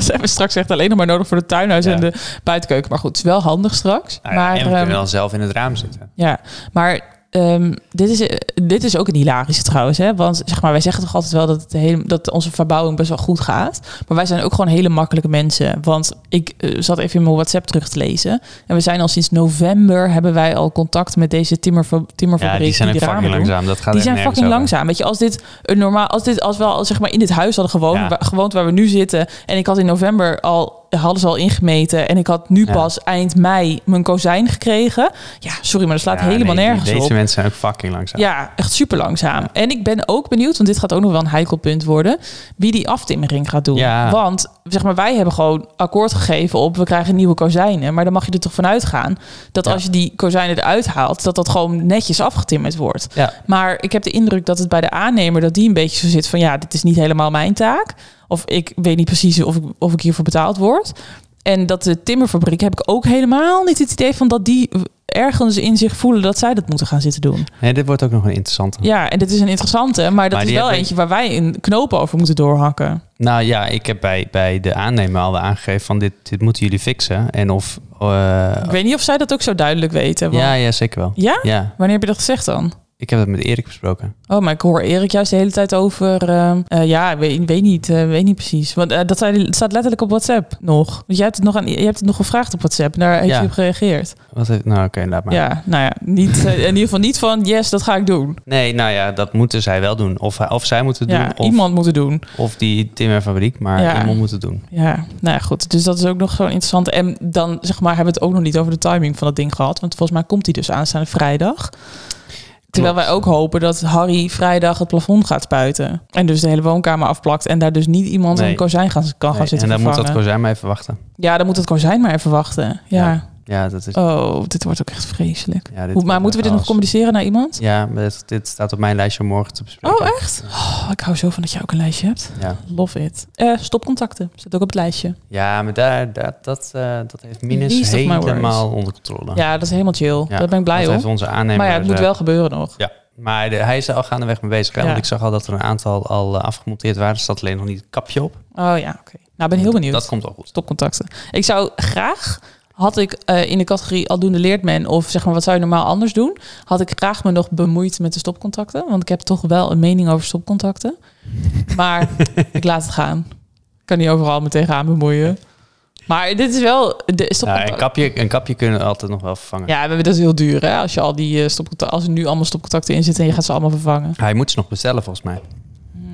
Ze hebben straks echt alleen nog maar nodig voor het tuinhuis Ja. en de buitenkeuken. Maar goed, het is wel handig straks. Nou ja, maar, en we ehm, kunnen dan zelf in het raam zitten. Ja, maar ehm, dit, is, eh, dit is ook een hilarische trouwens. Hè? Want zeg maar, wij zeggen toch altijd wel dat, het hele, dat onze verbouwing best wel goed gaat. Maar wij zijn ook gewoon hele makkelijke mensen. Want ik eh, zat even in mijn WhatsApp terug te lezen. En we zijn al sinds november hebben wij al contact met deze timmerfa- Ja, timmerfabriek. die zijn ook die fucking ramen doen. langzaam. Dat gaat Die echt zijn nergens fucking over. langzaam. Weet je, als dit een normaal, als dit als we al zeg maar in dit huis hadden gewoond, Ja. wa- gewoond waar we nu zitten. En ik had in november al hadden ze al ingemeten en ik had nu Ja. pas eind mei mijn kozijn gekregen. Ja, sorry, maar dat slaat Ja, helemaal nee, die- nergens deze op. mensen zijn ook fucking langzaam. Ja, echt super langzaam. En ik ben ook benieuwd, want dit gaat ook nog wel een heikel punt worden, wie die aftimmering gaat doen. Ja. Want zeg maar, wij hebben gewoon akkoord gegeven op we krijgen nieuwe kozijnen. Maar dan mag je er toch van uitgaan dat Ja. als je die kozijnen eruit haalt, dat dat gewoon netjes afgetimmerd wordt. Ja. Maar ik heb de indruk dat het bij de aannemer dat die een beetje zo zit van ja, dit is niet helemaal mijn taak. Of ik weet niet precies of ik, of ik hiervoor betaald word. En dat de timmerfabriek heb ik ook helemaal niet het idee van dat die ergens in zich voelen dat zij dat moeten gaan zitten doen. Nee, dit wordt ook nog een interessante. Ja, en dit is een interessante, maar dat Maar is die wel hebben- eentje waar wij een knoop over moeten doorhakken. Nou ja, ik heb bij, bij de aannemer al aangegeven van dit, dit moeten jullie fixen. En of... eh, Ik weet niet of zij dat ook zo duidelijk weten. want- ja, ja, zeker wel. Ja? Ja, Wanneer heb je dat gezegd dan? Ik heb dat met Erik besproken. Oh, maar ik hoor Erik juist de hele tijd over. ehm, eh, ja, weet, weet niet, eh, weet niet precies. Want eh, dat zei- het staat letterlijk op WhatsApp nog. Want jij hebt het nog, aan, jij hebt het nog gevraagd op WhatsApp. En daar heeft Ja. je op gereageerd. Wat heeft, nou, oké, laat maar. Ja, nou ja, niet, eh, in ieder geval niet van yes, dat ga ik doen. Nee, nou ja, dat moeten zij wel doen. Of, hij- of zij moeten het Ja, doen. Of, iemand moet het doen. of die Tim en Fabriek, maar Ja. iemand moet het doen. Ja, nou ja, goed. Dus dat is ook nog gewoon interessant. En dan zeg maar, hebben we het ook nog niet over de timing van dat ding gehad. Want volgens mij komt die dus aanstaande vrijdag. Terwijl wij ook hopen dat Harry vrijdag het plafond gaat spuiten. En dus de hele woonkamer afplakt. En daar dus niet iemand Nee. een kozijn gaan, kan gaan Nee, zitten en dan moet dat vervangen. kozijn maar even wachten. Ja, dan moet het kozijn maar even wachten. Ja. Ja, dat is... Oh, dit wordt ook echt vreselijk. ja, dit Hoe, maar moeten we dit nog alles. communiceren naar iemand? Ja, maar dit, dit staat op mijn lijstje om morgen te bespreken. Oh, echt? Oh, ik hou zo van dat jij ook een lijstje hebt. Ja, Love it. Eh, stopcontacten. Zit ook op het lijstje. ja maar daar, daar, dat, eh, dat Least heeft Minus of my worries. helemaal onder controle. Ja, dat is helemaal chill. Ah. Ja, Daar ben ik blij dat om. heeft onze aannemer... Maar ja, het moet eh, wel gebeuren nog. Ja, maar de- hij is er al gaandeweg mee bezig. hè, Ja. Want ik zag al dat er een aantal al eh, afgemonteerd waren. Er staat alleen nog niet het kapje op. Oh ja, oké. Nou, ik ben heel benieuwd. Dat komt wel goed. Stopcontacten. Ik zou graag, had ik eh, in de categorie aldoende leert men... of zeg maar, wat zou je normaal anders doen... had ik graag me nog bemoeid met de stopcontacten. Want ik heb toch wel een mening over stopcontacten. Maar ik laat het gaan. Ik kan niet overal me tegenaan bemoeien. Maar dit is wel... De Nou, een, stopcontact. kapje, een kapje kunnen we altijd nog wel vervangen. Ja, maar dat is heel duur, hè? Als, je al die, eh, stopcontact, als er nu allemaal stopcontacten in zitten... en je gaat ze allemaal vervangen. Hij moet ze nog bestellen, volgens mij.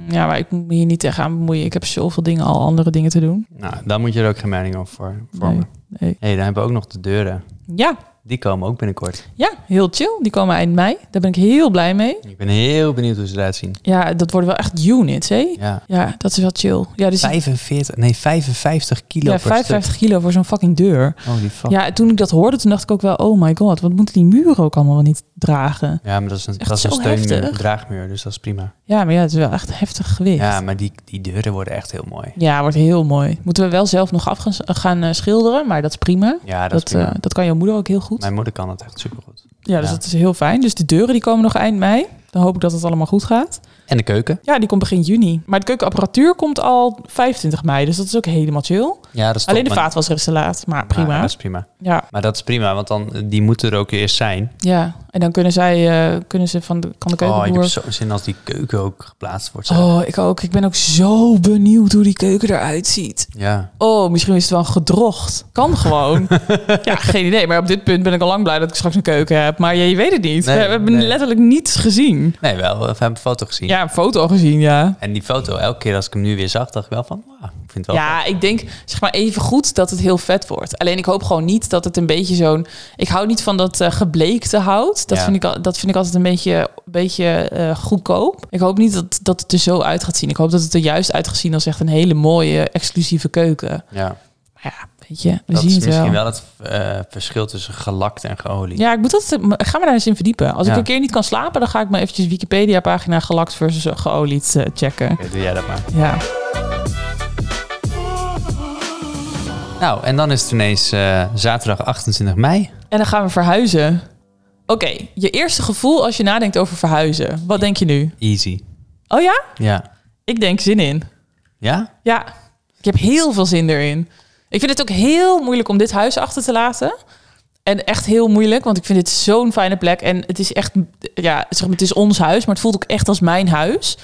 Ja, maar ik moet me hier niet tegenaan bemoeien. Ik heb zoveel dingen al, andere dingen te doen. Nou, daar moet je er ook geen mening over voor- vormen. Nee. hey, dan hebben we ook nog de deuren. Ja, Die komen ook binnenkort. ja, heel chill. Die komen eind mei. Daar ben ik heel blij mee. Ik ben heel benieuwd hoe ze eruit zien. Ja, dat worden wel echt units, hè? Ja. Ja, dat is wel chill. Ja, dus 45, nee, 55 kilo ja, per 55 kilo voor zo'n fucking deur. stuk. Oh, die fuck. Ja. Ja, toen ik dat hoorde, toen dacht ik ook wel... Oh my god, wat moeten die muren ook allemaal wel niet dragen? maar dat is een, Echt dat is een zo steunmuur, heftig. een draagmuur, dus dat is prima. Ja, maar ja, het is wel echt heftig gewicht. Ja, maar die, die deuren worden echt heel mooi. Ja, wordt heel mooi. Moeten we wel zelf nog af gaan, gaan eh, schilderen, maar dat is prima. Ja, dat, dat, is prima. eh, dat kan jouw moeder ook heel goed. Mijn moeder kan het echt supergoed. Ja, dus Ja. dat is heel fijn. Dus de deuren die komen nog eind mei. Dan hoop ik dat het allemaal goed gaat. En de keuken. Ja, die komt begin juni. Maar de keukenapparatuur komt al 25 mei. Dus dat is ook helemaal chill. Ja, dat is Alleen de top, maar- vaatwasser is te laat. Maar prima. Ja, Ja, dat is prima. ja. Maar dat is prima, want dan, eh, die moeten er ook eerst zijn. En dan kunnen zij eh, kunnen ze van de, kan de Oh, ik heb keukenboer... zo'n zin als die keuken ook geplaatst wordt. zeg. Oh, ik ook. Ik ben ook zo benieuwd hoe die keuken eruit ziet. Ja. Oh, misschien is het wel een gedrocht. Kan gewoon. ja, geen idee. Maar op dit punt ben ik al lang blij dat ik straks een keuken heb. Maar ja, je weet het niet. Nee, we hebben nee. letterlijk niets gezien. Nee, wel. We hebben een foto gezien. Ja, een foto al gezien, ja. En die foto, elke keer als ik hem nu weer zag, dacht ik wel van, wauw, ik vind het wel vet. Ja, ik denk zeg maar even goed dat het heel vet wordt. Alleen ik hoop gewoon niet dat het een beetje zo'n. Ik hou niet van dat eh, gebleekte hout. Dat, Ja. vind ik, al- dat vind ik altijd een beetje, beetje eh, goedkoop. Ik hoop niet dat, dat het er zo uit gaat zien. Ik hoop dat het er juist uit gaat zien als echt een hele mooie, exclusieve keuken. Ja, Maar ja, weet je, we dat zien is het wel. misschien wel het eh, verschil tussen gelakt en geolied. Ja, ik moet dat. Ga me daar eens in verdiepen. Als Ja. ik een keer niet kan slapen, dan ga ik maar eventjes Wikipedia-pagina gelakt versus geolied eh, checken. Oké, doe jij dat maar. Ja. Nou, en dan is het ineens eh, zaterdag 28 mei. En dan gaan we verhuizen. Oké, je eerste gevoel als je nadenkt over verhuizen. Wat denk je nu? Easy. Oh ja? Ja. Ik denk zin in. Ja? Ja, ik heb heel veel zin erin. Ik vind het ook heel moeilijk om dit huis achter te laten. En echt heel moeilijk, want ik vind dit zo'n fijne plek. En het is echt, ja, zeg maar, het is ons huis, maar het voelt ook echt als mijn huis.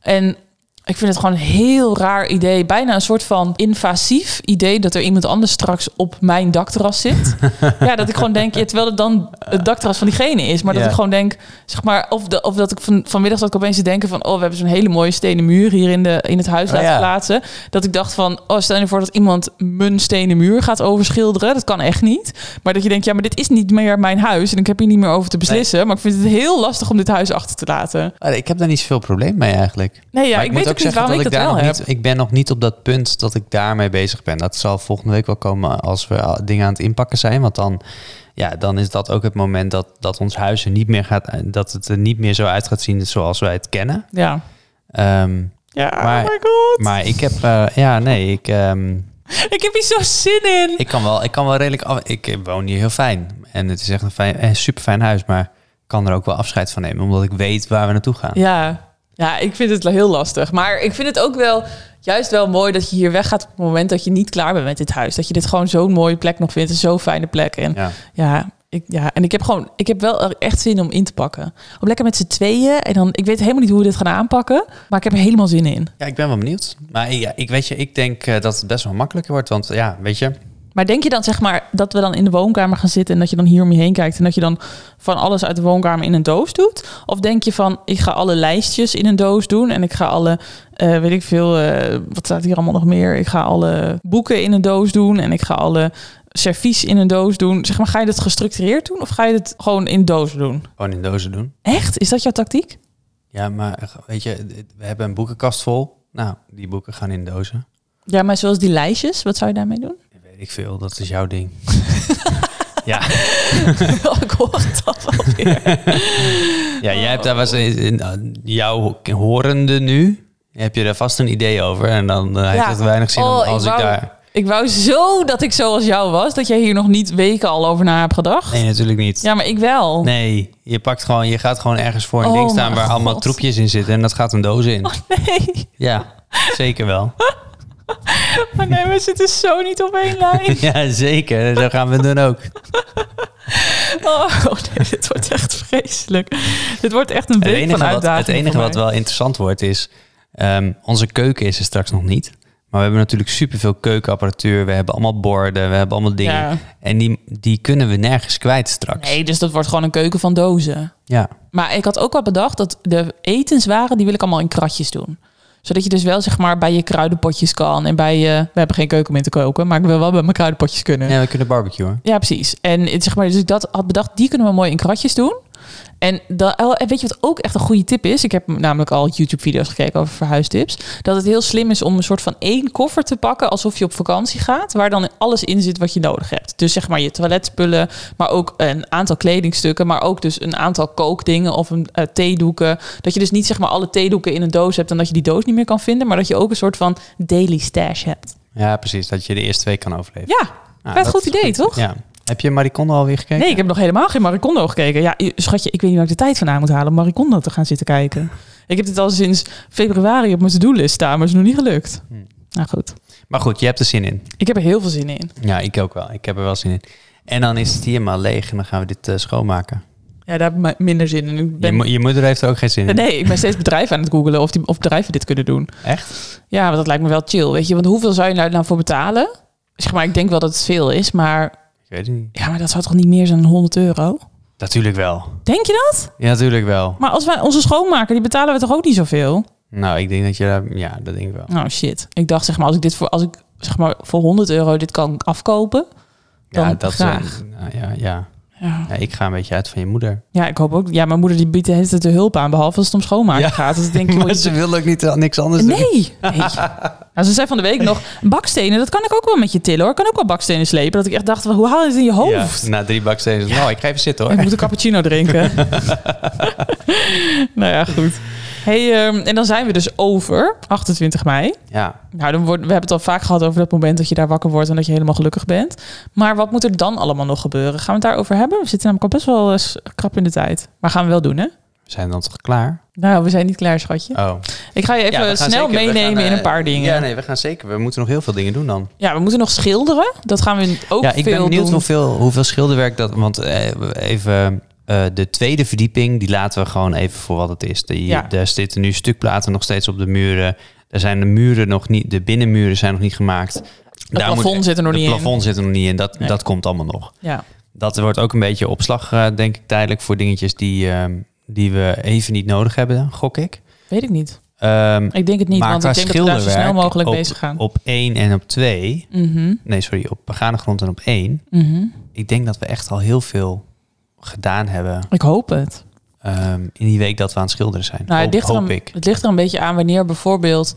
En ik vind het gewoon een heel raar idee. Bijna een soort van invasief idee dat er iemand anders straks op mijn dakterras zit. ja, dat ik gewoon denk, ja, terwijl het dan het dakterras van diegene is. Maar dat Ja. ik gewoon denk, zeg maar, of, de, of dat ik van, vanmiddag zat ik opeens te denken van, oh, we hebben zo'n hele mooie stenen muur hier in, de, in het huis Oh, laten ja. plaatsen. dus Dat ik dacht van, oh, stel je voor dat iemand mijn stenen muur gaat overschilderen. Dat kan echt niet. Maar dat je denkt, ja, maar dit is niet meer mijn huis en ik heb hier niet meer over te beslissen. Maar ik vind het heel lastig om dit huis achter te laten. Maar Ah, ik heb daar niet zoveel probleem mee eigenlijk. Nee, ja, Maar ik, weet ook niet waarom ik dat daar wel nog heb. niet, ik ben nog niet op dat punt dat ik daarmee bezig ben. Dat zal volgende week wel komen als we al- dingen aan het inpakken zijn. Want dan, ja, dan is dat ook het moment dat, dat ons huis er niet meer gaat, eh, dat het er niet meer zo uit gaat zien zoals wij het kennen. Ja. Ehm, Ja, Maar- oh my god. maar ik heb, eh, ja, nee, ik, ehm, Ik heb hier zo zin in. ik kan wel, ik kan wel redelijk, af, ik woon hier heel fijn. En het is echt een, fijn, een super fijn huis, maar ik kan er ook wel afscheid van nemen, omdat ik weet waar we naartoe gaan. Ja. ja, ik vind het heel lastig. Maar ik vind het ook wel juist wel mooi dat je hier weggaat op het moment dat je niet klaar bent met dit huis. Dat je dit gewoon zo'n mooie plek nog vindt. Een zo'n fijne plek. En ja, Ja. ja, Ik, ja, en ik heb gewoon, ik heb wel echt zin om in te pakken. Om lekker met z'n tweeën. En dan, ik weet helemaal niet hoe we dit gaan aanpakken. Maar ik heb er helemaal zin in. Ja, ik ben wel benieuwd. Maar ja, ik weet je, ik denk eh, dat het best wel makkelijker wordt. Want ja, weet je, Maar denk je dan zeg maar dat we dan in de woonkamer gaan zitten en dat je dan hier om je heen kijkt en dat je dan van alles uit de woonkamer in een doos doet? Of denk je van ik ga alle lijstjes in een doos doen en ik ga alle, eh, weet ik veel, eh, wat staat hier allemaal nog meer? Ik ga alle boeken in een doos doen en ik ga alle servies in een doos doen. Zeg maar, ga je dat gestructureerd doen of ga je het gewoon in dozen doen? gewoon in dozen doen. Echt? Is dat jouw tactiek? Ja, maar eh, weet je, d- we hebben een boekenkast vol. Nou, die boeken gaan in dozen. Ja, maar zoals die lijstjes, wat zou je daarmee doen? Dat weet ik veel, dat is jouw ding. ik hoor het al alweer. Ja, jij hebt daar was in, in- in jouw horende nu, heb je daar vast een idee over. En dan eh, heeft Ja. het weinig zin om Oh, ik als ik, wou- daar... Ik wou zo dat ik zoals jou was, dat jij hier nog niet weken al over na hebt gedacht. Nee, natuurlijk niet. Ja, maar ik wel. Nee, je pakt gewoon, je gaat gewoon ergens voor een Oh, ding staan mijn waar allemaal God. Oh, troepjes in zitten en dat gaat een doos in. Nee, Ja, zeker wel. maar Oh, nee, we zitten zo niet op één lijn. ja, zeker. Zo gaan we het doen ook. Oh, nee, dit wordt echt vreselijk. Dit wordt echt een Het week van enige, wat, uitdaging het enige voor wat mij. wel interessant wordt is, ehm, onze keuken is er straks nog niet. Maar we hebben natuurlijk superveel keukenapparatuur. We hebben allemaal borden, we hebben allemaal dingen. Ja. En die, die kunnen we nergens kwijt straks. Nee, dus dat wordt gewoon een keuken van dozen. Ja. Maar ik had ook wel bedacht dat de etenswaren, die wil ik allemaal in kratjes doen. Zodat je dus wel zeg maar bij je kruidenpotjes kan en bij je... We hebben geen keuken meer te koken, maar ik wil wel bij mijn kruidenpotjes kunnen. ja, we kunnen barbecuen. Ja, precies. En het- zeg maar, dus ik dat had bedacht, die kunnen we mooi in kratjes doen. En dat, oh, en weet je wat ook echt een goede tip is? Ik heb namelijk al YouTube-video's gekeken over verhuistips. Dat het heel slim is om een soort van één koffer te pakken alsof je op vakantie gaat. Waar dan alles in zit wat je nodig hebt. Dus zeg maar je toiletspullen, maar ook een aantal kledingstukken. Maar ook dus een aantal kookdingen of een, eh, theedoeken. Dat je dus niet zeg maar alle theedoeken in een doos hebt en dat je die doos niet meer kan vinden. Maar dat je ook een soort van daily stash hebt. Ja, precies. Dat je de eerste twee kan overleven. Ja, Nou, vet dat goed is idee toch? Ja. Heb je Maricondo alweer gekeken? Nee, ik heb nog helemaal geen Maricondo gekeken. Ja, schatje, ik weet niet waar ik de tijd vandaan moet halen om Maricondo te gaan zitten kijken. Ik heb dit al sinds februari op mijn to-do-list staan, maar is nog niet gelukt. Hm. Nou goed, Maar goed, je hebt er zin in. ik heb er heel veel zin in. Ja, ik ook wel. Ik heb er wel zin in. En dan is het hier maar leeg en dan gaan we dit eh, schoonmaken. Ja, daar heb ik mi- minder zin in. Ik Je, mo- ben... je moeder heeft er ook geen zin in. Nee, ik ben steeds bedrijven aan het googelen of, die, of bedrijven dit kunnen doen. Echt? Ja, want dat lijkt me wel chill, weet je. Want hoeveel zou je daar nou voor betalen? Zeg maar, ik denk wel dat het veel is, maar, Ik weet het niet. ja, maar dat zou toch niet meer zijn dan 100 euro? Natuurlijk wel. Denk je dat? Ja, natuurlijk wel. Maar als wij onze schoonmaker, die betalen we toch ook niet zoveel? Nou, ik denk dat je daar... Ja, dat denk ik wel. Nou shit. Ik dacht zeg maar, als ik dit voor, als ik, zeg maar, voor 100 euro dit kan afkopen. Dan ja, dat is- graag. nou ja, ja. Ja. ja, ik ga een beetje uit van je moeder. ja, ik hoop ook. Ja, mijn moeder die biedt de hele tijd de hulp aan, behalve als het om schoonmaken Ja. gaat. Dus ik denk, joh, Maar ze wil ook niet eh, niks anders nee. doen. nee. Nou, ze zei van de week nog, bakstenen, dat kan ik ook wel met je tillen hoor. Ik kan ook wel bakstenen slepen. Dat ik echt dacht, hoe haal je het in je hoofd? Ja, na drie bakstenen. Nou, ik ga even zitten Ik hoor. moet een cappuccino drinken. nou ja, goed. Hey, ehm, en dan zijn we dus over 28 mei. Ja, Nou, dan wordt, we hebben het al vaak gehad over dat moment dat je daar wakker wordt en dat je helemaal gelukkig bent. Maar wat moet er dan allemaal nog gebeuren? Gaan we het daarover hebben? We zitten namelijk al best wel eens krap in de tijd. Maar gaan we wel doen, hè? we zijn dan toch klaar? Nou, we zijn niet klaar, schatje. Oh. Ik ga je Ja, even we gaan snel zeker- we meenemen gaan, eh, in een paar dingen. Ja, nee, we gaan zeker. We moeten nog heel veel dingen doen dan. Ja, we moeten nog schilderen. Dat gaan we ook ja, ik veel ben benieuwd doen. hoeveel, hoeveel schilderwerk dat... Want eh, even... eh, de tweede verdieping, die laten we gewoon even voor wat het is. Die, Ja. Daar zitten nu stukplaten nog steeds op de muren. Er zijn de muren nog niet... De binnenmuren zijn nog niet gemaakt. Het Daar moet- plafond zit er nog Het niet plafond zit er nog niet in. Dat, Nee. dat komt allemaal nog. in. Ja. Dat wordt ook een beetje opslag, eh, denk ik, tijdelijk voor dingetjes die, ehm, die we even niet nodig hebben, gok ik. Weet ik niet. Ehm, Ik denk het niet, Maar want qua ik denk dat we daar zo snel schilderwerk mogelijk op- bezig gaan. op 1 en op 2, Mhm, nee, sorry, op begane grond en op 1. mhm. Ik denk dat we echt al heel veel gedaan hebben Ik hoop het. ehm, in die week dat we aan het schilderen zijn. Nou, het hoop, ligt, er hoop een, ik. het ligt er een beetje aan wanneer bijvoorbeeld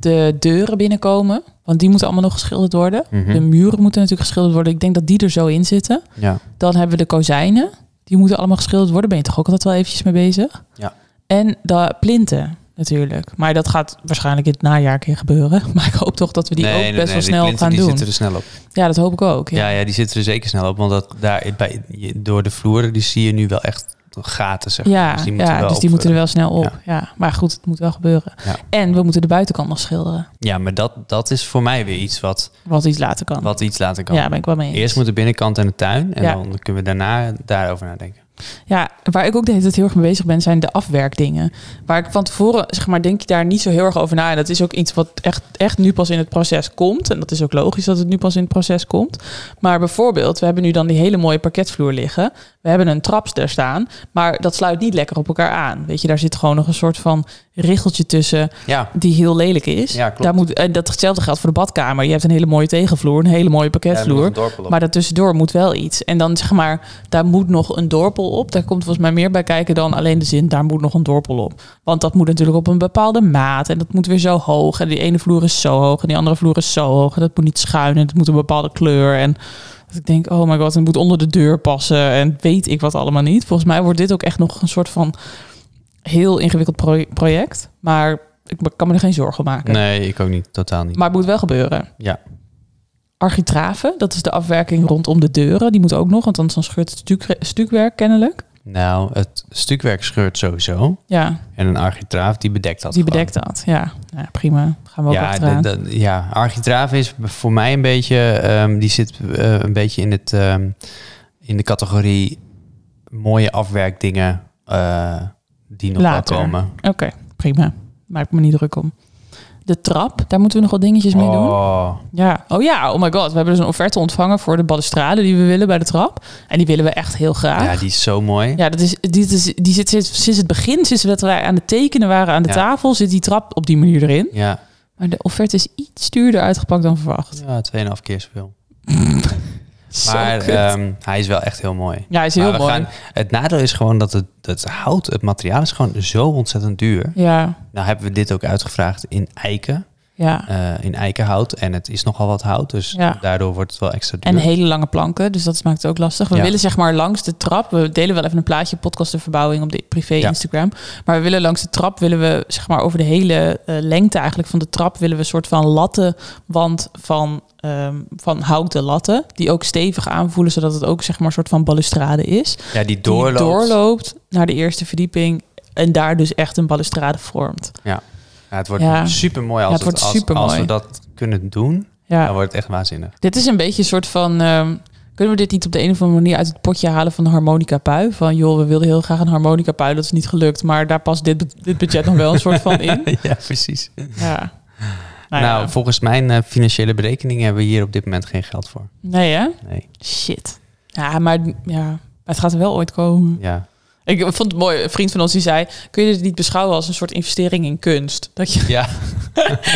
de deuren binnenkomen. Want die moeten allemaal nog geschilderd worden. Mhm. De muren moeten natuurlijk geschilderd worden. Ik denk dat die er zo in zitten. Ja. Dan hebben we de kozijnen. Die moeten allemaal geschilderd worden. Ben je toch ook altijd wel eventjes mee bezig? Ja. En de plinten natuurlijk. Maar dat gaat waarschijnlijk in het najaar een keer gebeuren. Maar ik hoop toch dat we die Nee, ook nee, best nee, wel die snel plinten, gaan die doen. zitten er snel op. Ja, dat hoop ik ook. Ja. Ja. Ja, die zitten er zeker snel op. Want dat, daar, bij, je- door de vloer die zie je nu wel echt gaten, zeg maar. Ja, dus die moeten, ja, wel dus die op, moeten er eh, wel snel op. ja. Ja. Maar goed, het moet wel gebeuren. Ja. En we moeten de buitenkant nog schilderen. Ja, maar dat, dat is voor mij weer iets wat, Wat iets later kan. wat iets laten kan. ja, ben ik wel mee eens. Eerst moet de binnenkant en de tuin. En Ja. dan kunnen we daarna daarover nadenken. Ja, waar ik ook de hele tijd heel erg mee bezig ben, zijn de afwerkdingen. Waar ik van tevoren, zeg maar, denk je daar niet zo heel erg over na. En dat is ook iets wat echt, echt nu pas in het proces komt. En dat is ook logisch dat het nu pas in het proces komt. Maar bijvoorbeeld, we hebben nu dan die hele mooie parketvloer liggen. We hebben een traps daar staan, maar dat sluit niet lekker op elkaar aan. Weet je, daar zit gewoon nog een soort van richeltje tussen Ja, die heel lelijk is. Ja, klopt. Daar moet, en datzelfde geldt voor de badkamer. Je hebt een hele mooie tegenvloer, een hele mooie parketvloer. Maar daartussendoor moet wel iets. En dan zeg maar, daar moet nog een dorpel op. Daar komt volgens mij meer bij kijken dan alleen de zin, daar moet nog een dorpel op. Want dat moet natuurlijk op een bepaalde maat. En dat moet weer zo hoog. En die ene vloer is zo hoog. En die andere vloer is zo hoog. En dat moet niet schuin. En het moet een bepaalde kleur. En dat ik denk, oh my god, het moet onder de deur passen. En weet ik wat allemaal niet. Volgens mij wordt dit ook echt nog een soort van heel ingewikkeld pro- project. Maar ik kan me er geen zorgen om maken. Nee, ik ook niet. Totaal niet. Maar het moet wel gebeuren. Ja. Architraven, dat is de afwerking rondom de deuren. Die moet ook nog, want anders dan scheurt het stuk, stukwerk kennelijk. Nou, het stukwerk scheurt sowieso. Ja, En een architraaf, die bedekt dat die gewoon. bedekt dat. Ja, ja prima. Gaan we ook Ja, achteraan. dat- dat- ja, architraaf is voor mij een beetje... ehm, die zit eh, een beetje in, het, ehm, in de categorie mooie afwerkdingen eh, die nog Later. wel komen. Oké, prima. Maak me niet druk om. De trap, daar moeten we nog wat dingetjes mee doen. Oh, Ja. Oh ja, oh my god. We hebben dus een offerte ontvangen voor de balustrade die we willen bij de trap. En die willen we echt heel graag. ja, die is zo mooi. Ja, dat is, dit is, die zit sinds, sinds het begin, sinds dat wij aan het tekenen waren aan de Ja. tafel, zit die trap op die manier erin. Ja, Maar de offerte is iets duurder uitgepakt dan verwacht. ja 2,5 keer zoveel. Zo Maar kut. ehm, hij is wel echt heel mooi. ja, is heel Maar we mooi. gaan- het nadeel is gewoon dat het, het hout, het materiaal is gewoon zo ontzettend duur. Ja, Nou hebben we dit ook uitgevraagd in eiken, ja. eh, in eikenhout. En het is nogal wat hout, dus Ja. daardoor wordt het wel extra duur. En hele lange planken, dus dat maakt het ook lastig. We Ja. willen zeg maar langs de trap, we delen wel even een plaatje, podcast de verbouwing op de privé Ja. Instagram. Maar we willen langs de trap, willen we zeg maar over de hele eh, lengte eigenlijk van de trap, willen we een soort van lattenwand van, ehm, van houten latten. Die ook stevig aanvoelen, zodat het ook zeg maar een soort van balustrade is. ja, die die doorloopt. doorloopt naar de eerste verdieping en daar dus echt een balustrade vormt. Ja, het wordt Ja. super mooi als, Ja, het wordt als, als we supermooi. dat kunnen doen. Ja. Dan wordt het echt waanzinnig. Dit is een beetje een soort van. ehm, kunnen we dit niet op de een of andere manier uit het potje halen van de harmonica pui? Van joh, we wilden heel graag een harmonica pui, dat is niet gelukt. Maar daar past dit, bu- dit budget nog wel een soort van in. ja, precies. Ja. Nou, Nou, ja. volgens mijn eh, financiële berekeningen hebben we hier op dit moment geen geld voor. Nee hè? Nee, Shit. Ja, maar ja, het gaat er wel ooit komen. ja. Ik vond het mooi, een vriend van ons die zei... kun je dit niet beschouwen als een soort investering in kunst? Dat je, Ja,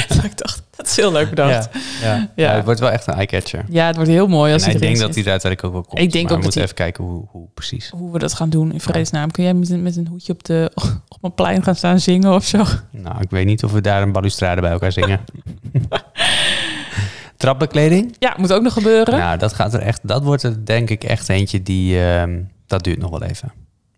dat ik dacht, dat is heel leuk bedacht. Ja, ja. ja. Ja. het wordt wel echt een eye-catcher. het wordt heel mooi als En ik iedereen denk dat hij er uiteindelijk ook wel komt. Ik denk maar ook we dat moeten even kijken hoe, hoe precies. hoe we dat gaan doen in vredesnaam. Kun jij met een, met een hoedje op, de, op een plein gaan staan zingen of zo? Nou, ik weet niet of we daar een balustrade bij elkaar zingen. Trapbekleding? Ja, moet ook nog gebeuren. Nou, dat gaat er echt. Dat wordt er denk ik echt eentje die. ehm, dat duurt nog wel even.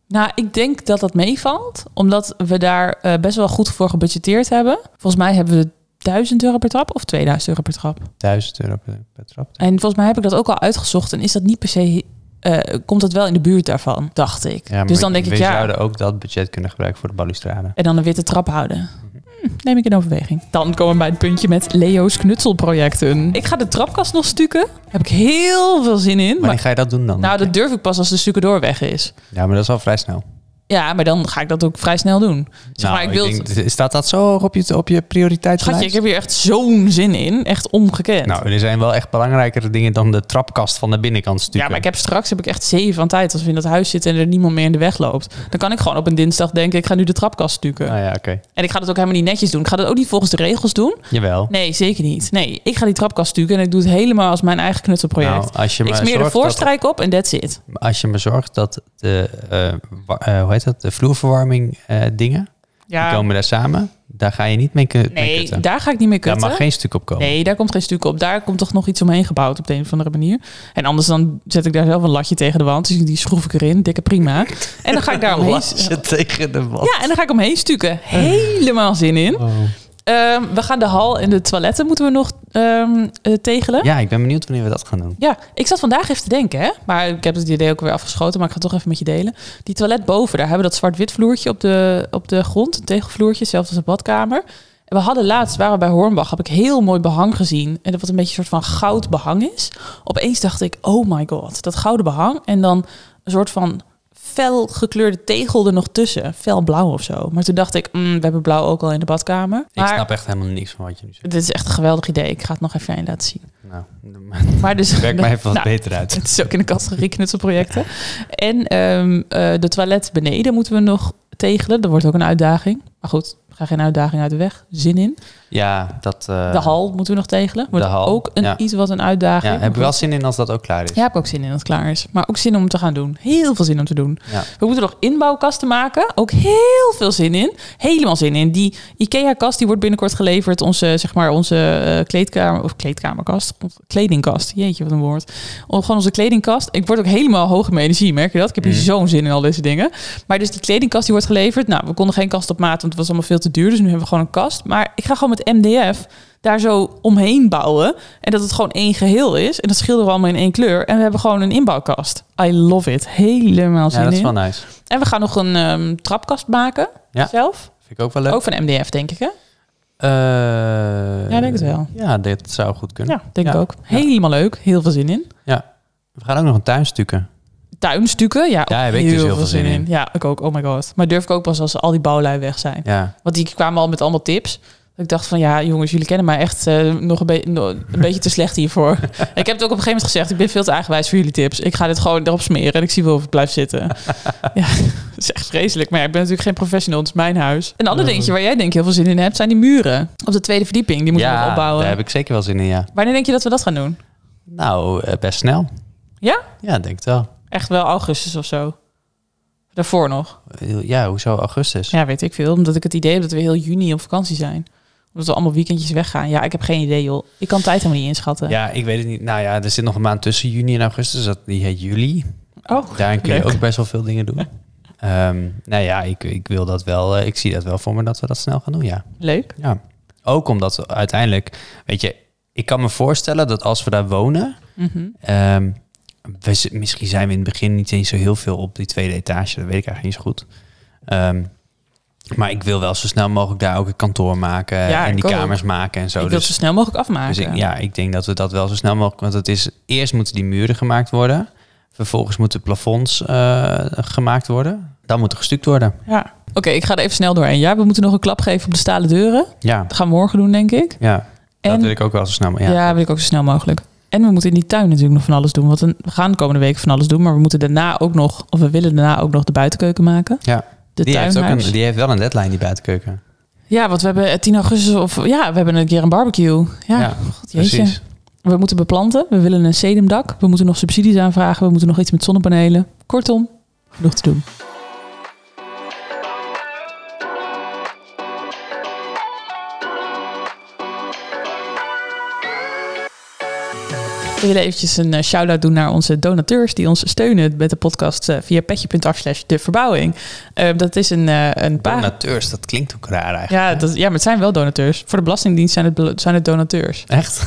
Nou, ik denk dat dat meevalt, omdat we daar eh, best wel goed voor gebudgeteerd hebben. Volgens mij hebben we 1000 euro per trap of 2000 euro per trap. 1000 euro per, per trap. En volgens mij heb ik dat ook al uitgezocht en is dat niet per se. eh, komt dat wel in de buurt daarvan, dacht ik. Ja, maar dus dan denk we ik ja. zouden ook dat budget kunnen gebruiken voor de balustrade. En dan een witte trap houden. Mhm. Hm, Neem ik in overweging. Dan komen we bij het puntje met Leo's knutselprojecten. Ik ga de trapkast nog stukken. Heb ik heel veel zin in. Maar Wanneer ga je dat doen dan? Nou, dat durf ik pas als de stukken weg is. Ja, maar dat is al vrij snel. Ja, maar dan ga ik dat ook vrij snel doen. Zeg maar, Nou, ik wil het- denk, staat dat zo hoog op je, op je prioriteitslijst? Schatje, ik heb hier echt zo'n zin in. Echt ongekend. Nou, er zijn wel echt belangrijkere dingen dan de trapkast van de binnenkant ja, stukken. maar ik heb straks heb ik echt zeven aan tijd als we in dat huis zitten en er niemand meer in de weg loopt. Dan kan ik gewoon op een dinsdag denken, ik ga nu de trapkast stukken. Nou ja, oké. En ik ga dat ook helemaal niet netjes doen. Ik ga dat ook niet volgens de regels doen. Jawel. Nee, zeker niet. Nee, ik ga die trapkast stukken en ik doe het helemaal als mijn eigen knutselproject. Nou, als je ik maar smeer de zorgt dat- voorstrijk op en that's it. Als je maar zorgt dat de, eh, wa- eh, hoe heet dat, de vloerverwarming eh, dingen, die Ja, komen daar samen, daar ga je niet mee, ku- mee nee, kutten. daar ga ik niet mee Daar kutten. mag geen stuk op komen. Nee, daar komt geen stuk op. Daar komt toch nog iets omheen gebouwd op de een of andere manier. En anders dan zet ik daar zelf een latje tegen de wand. Dus die schroef ik erin. Dikke prima. En dan ga ik daar omheen. tegen de wand. Ja, en dan ga ik omheen stukken. Helemaal zin in. Ehm, we gaan de hal en de toiletten moeten we nog ehm, eh, tegelen. Ja, ik ben benieuwd wanneer we dat gaan doen. Ja, ik zat vandaag even te denken, hè? maar ik heb het idee ook weer afgeschoten, maar ik ga het toch even met je delen. Die toilet boven, daar hebben we dat zwart-wit vloertje op de, op de grond, een tegelvloertje, zelfs als de badkamer. En we hadden laatst, waren we bij Hornbach, heb ik heel mooi behang gezien. En dat wat een beetje een soort van goud behang is. Opeens dacht ik, oh my god, dat gouden behang. En dan een soort van fel gekleurde tegel er nog tussen, fel blauw of zo. Maar toen dacht ik, mm, we hebben blauw ook al in de badkamer. Ik maar snap echt helemaal niks van wat je nu zegt. dit is echt een geweldig idee, ik ga het nog even aan je laten zien. Nou, Maar dus, werk mij even wat Nou, beter uit. het is ook in de categorie knutselprojecten. En ehm, eh, de toilet beneden moeten we nog tegelen. Dat wordt ook een uitdaging. Maar goed, ga geen uitdaging uit de weg. Zin in. Ja, dat... eh, De hal moeten we nog tegelen. Wordt de hal, ook een, ja. iets wat een uitdaging. Ja, heb ik wel zin in als dat ook klaar is. Ja, heb ik ook zin in dat het klaar is. Maar ook zin om te gaan doen. Heel veel zin om te doen. Ja. We moeten nog inbouwkasten maken. Ook heel veel zin in. Helemaal zin in. Die IKEA-kast die wordt binnenkort geleverd. Onze, zeg maar, onze eh, kleedkamer, of kleedkamerkast. Onze Kledingkast. Jeetje, wat een woord. Oh, gewoon onze kledingkast. Ik word ook helemaal hoog in mijn energie, merk je dat? Ik heb hier Mm. zo'n zin in al deze dingen. Maar dus die kledingkast die wordt geleverd. Nou, we konden geen kast op maat, want het was allemaal veel te duur. Dus nu hebben we gewoon een kast. Maar ik ga gewoon met MDF daar zo omheen bouwen. En dat het gewoon één geheel is. En dat schilderen we allemaal in één kleur. En we hebben gewoon een inbouwkast. I love it. Helemaal zin Ja, dat is in. wel nice. En we gaan nog een ehm, trapkast maken. Ja. Zelf. Vind ik ook wel leuk. Ook van MDF, denk ik, hè? Eh, Ja, ik denk het wel. Ja, dit zou goed kunnen. Ja, denk ik Ja. ook. Helemaal leuk. Heel veel zin in. We gaan ook nog een tuin stukken. Tuinstukken, ja. Daar ook heb ik dus heel veel zin in. Ja, ik ook. Oh my god. Maar durf ik ook pas als ze al die bouwlui weg zijn. Ja. Want die kwamen al met allemaal tips. Ik dacht van ja, jongens, jullie kennen mij echt eh, nog een, be- no- een beetje te slecht hiervoor. ik heb het ook op een gegeven moment gezegd: ik ben veel te eigenwijs voor jullie tips. Ik ga dit gewoon erop smeren en ik zie wel of het blijft zitten. ja, dat is echt vreselijk. Maar ja, ik ben natuurlijk geen professional, het is mijn huis. Een ander Ja. dingetje waar jij denk ik heel veel zin in hebt, zijn die muren. Op de tweede verdieping, die moeten ja, we nog opbouwen. daar heb ik zeker wel zin in, ja. Wanneer denk je dat we dat gaan doen? Nou, eh, best snel. Ja? Ja, denk het wel. Echt wel augustus of zo. Daarvoor nog. Ja, hoezo augustus? Ja, weet ik veel. Omdat ik het idee heb dat we heel juni op vakantie zijn. Omdat we allemaal weekendjes weggaan. Ja, ik heb geen idee joh. Ik kan tijd helemaal niet inschatten. Ja, ik weet het niet. Nou ja, er zit nog een maand tussen juni en augustus. Dat, die heet juli. Oh, Daarin kun je Leuk. ook best wel veel dingen doen. Ehm, nou ja, ik, ik wil dat wel. eh, ik zie dat wel voor me dat we dat snel gaan doen, ja. leuk. Ja. Ook omdat we uiteindelijk, weet je, ik kan me voorstellen dat als we daar wonen, ehm, we, z- misschien zijn we in het begin niet eens zo heel veel op die tweede etage, dat weet ik eigenlijk niet zo goed. Ehm, maar ik wil wel zo snel mogelijk daar ook een kantoor maken Ja, en die ik ook. kamers maken en zo. ik wil het dus zo snel mogelijk afmaken. dus ik, ja, ik denk dat we dat wel zo snel mogelijk. Want het is eerst moeten die muren gemaakt worden. Vervolgens moeten plafonds eh, gemaakt worden. Dan moet er gestuukt worden. Ja. Oké, ik ga er even snel doorheen. Ja, we moeten nog een klap geven op de stalen deuren. Ja, Dat gaan we morgen doen, denk ik. ja. dat En- wil ik ook wel zo snel. Ja, mogelijk. wil ik ook zo snel mogelijk. En we moeten in die tuin natuurlijk nog van alles doen. Want we gaan de komende weken van alles doen. Maar we moeten daarna ook nog, of we willen daarna ook nog de buitenkeuken maken. Ja. De die, heeft ook tuinhuis. een, die heeft wel een deadline, die buitenkeuken. Ja, want we hebben eh, 10 augustus of ja, we hebben een keer een barbecue. Ja, god, jeetje. precies. We moeten beplanten. We willen een sedumdak. We moeten nog subsidies aanvragen. We moeten nog iets met zonnepanelen. Kortom, genoeg te doen. We willen eventjes een eh, shout-out doen naar onze donateurs die ons steunen met de podcast eh, via petje.af slash de verbouwing. Eh, dat is een, eh een paar... Donateurs, dat klinkt ook raar eigenlijk. Ja, dat, ja, maar het zijn wel donateurs. Voor de Belastingdienst zijn het, belo- zijn het donateurs. Echt?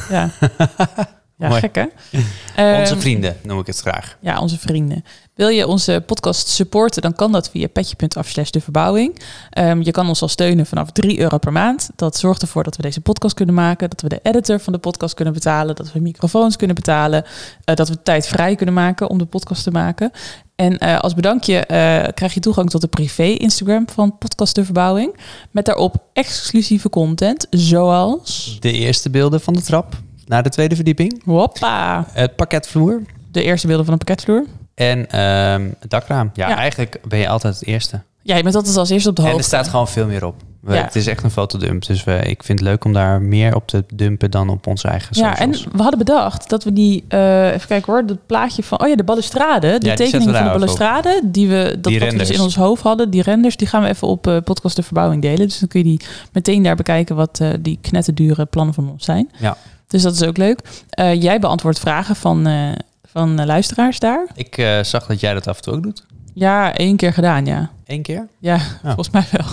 Ja, ja Mooi. gek hè? Onze Ehm, vrienden noem ik het graag. ja, onze vrienden. Wil je onze podcast supporten, dan kan dat via petje.af slash de verbouwing. Ehm, je kan ons al steunen vanaf 3 euro per maand. Dat zorgt ervoor dat we deze podcast kunnen maken, dat we de editor van de podcast kunnen betalen, dat we microfoons kunnen betalen, eh, dat we tijd vrij kunnen maken om de podcast te maken. En eh, als bedankje eh, krijg je toegang tot de privé Instagram van Podcast de Verbouwing. Met daarop exclusieve content, zoals... De eerste beelden van de trap naar de tweede verdieping. Hoppa! Het pakketvloer De eerste beelden van de pakketvloer. en ehm, het dakraam. Ja, Ja. eigenlijk ben je altijd het eerste. Jij bent altijd als eerste op de En hoogte. er staat gewoon veel meer op. We- Ja. Het is echt een fotodump. Dus we, ik vind het leuk om daar meer op te dumpen dan op onze eigen Ja, en socials. we hadden bedacht dat we die, eh, even kijken hoor, dat plaatje van, oh ja, de balustrade, die, die zetten tekening we van de daar ook op. balustrade, die we, dat Die wat we dus renders. in ons hoofd hadden, die renders, die gaan we even op eh, podcast De Verbouwing delen. Dus dan kun je die meteen daar bekijken wat eh, die knetterdure plannen van ons zijn. Ja. Dus dat is ook leuk. Eh, jij beantwoordt vragen van, eh, van eh, luisteraars daar. Ik eh, zag dat jij dat af en toe ook doet. Ja, één keer gedaan, ja. Eén keer? Ja, volgens mij wel.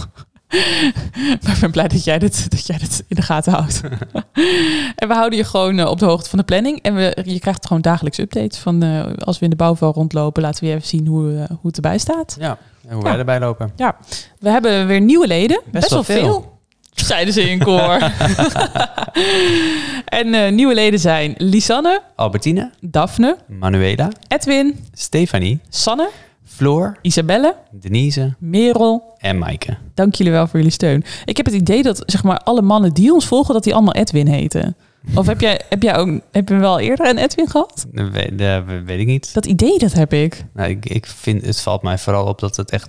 maar ik ben blij dat jij dit, dat jij dit in de gaten houdt. en we houden je gewoon eh, op de hoogte van de planning. En we, je krijgt gewoon dagelijks updates van eh, als we in de bouwval rondlopen, laten we je even zien hoe, eh, hoe het erbij staat. Ja, en hoe Ja. wij erbij lopen. We hebben weer nieuwe leden. Best, wel wel veel. veel. Zeiden ze in koor. en eh, nieuwe leden zijn Lisanne, Albertine, Daphne, Manuela, Edwin, Stefanie, Sanne, Floor, Isabelle, Denise Merel, en Maaike. Dank jullie wel voor jullie steun. Ik heb het idee dat zeg maar, alle mannen die ons volgen, dat die allemaal Edwin heten. Of heb jij, heb jij ook heb je wel eerder een Edwin gehad? Dat weet, dat weet ik niet. Dat idee dat heb ik. Nou, ik, ik vind, het valt mij vooral op dat het echt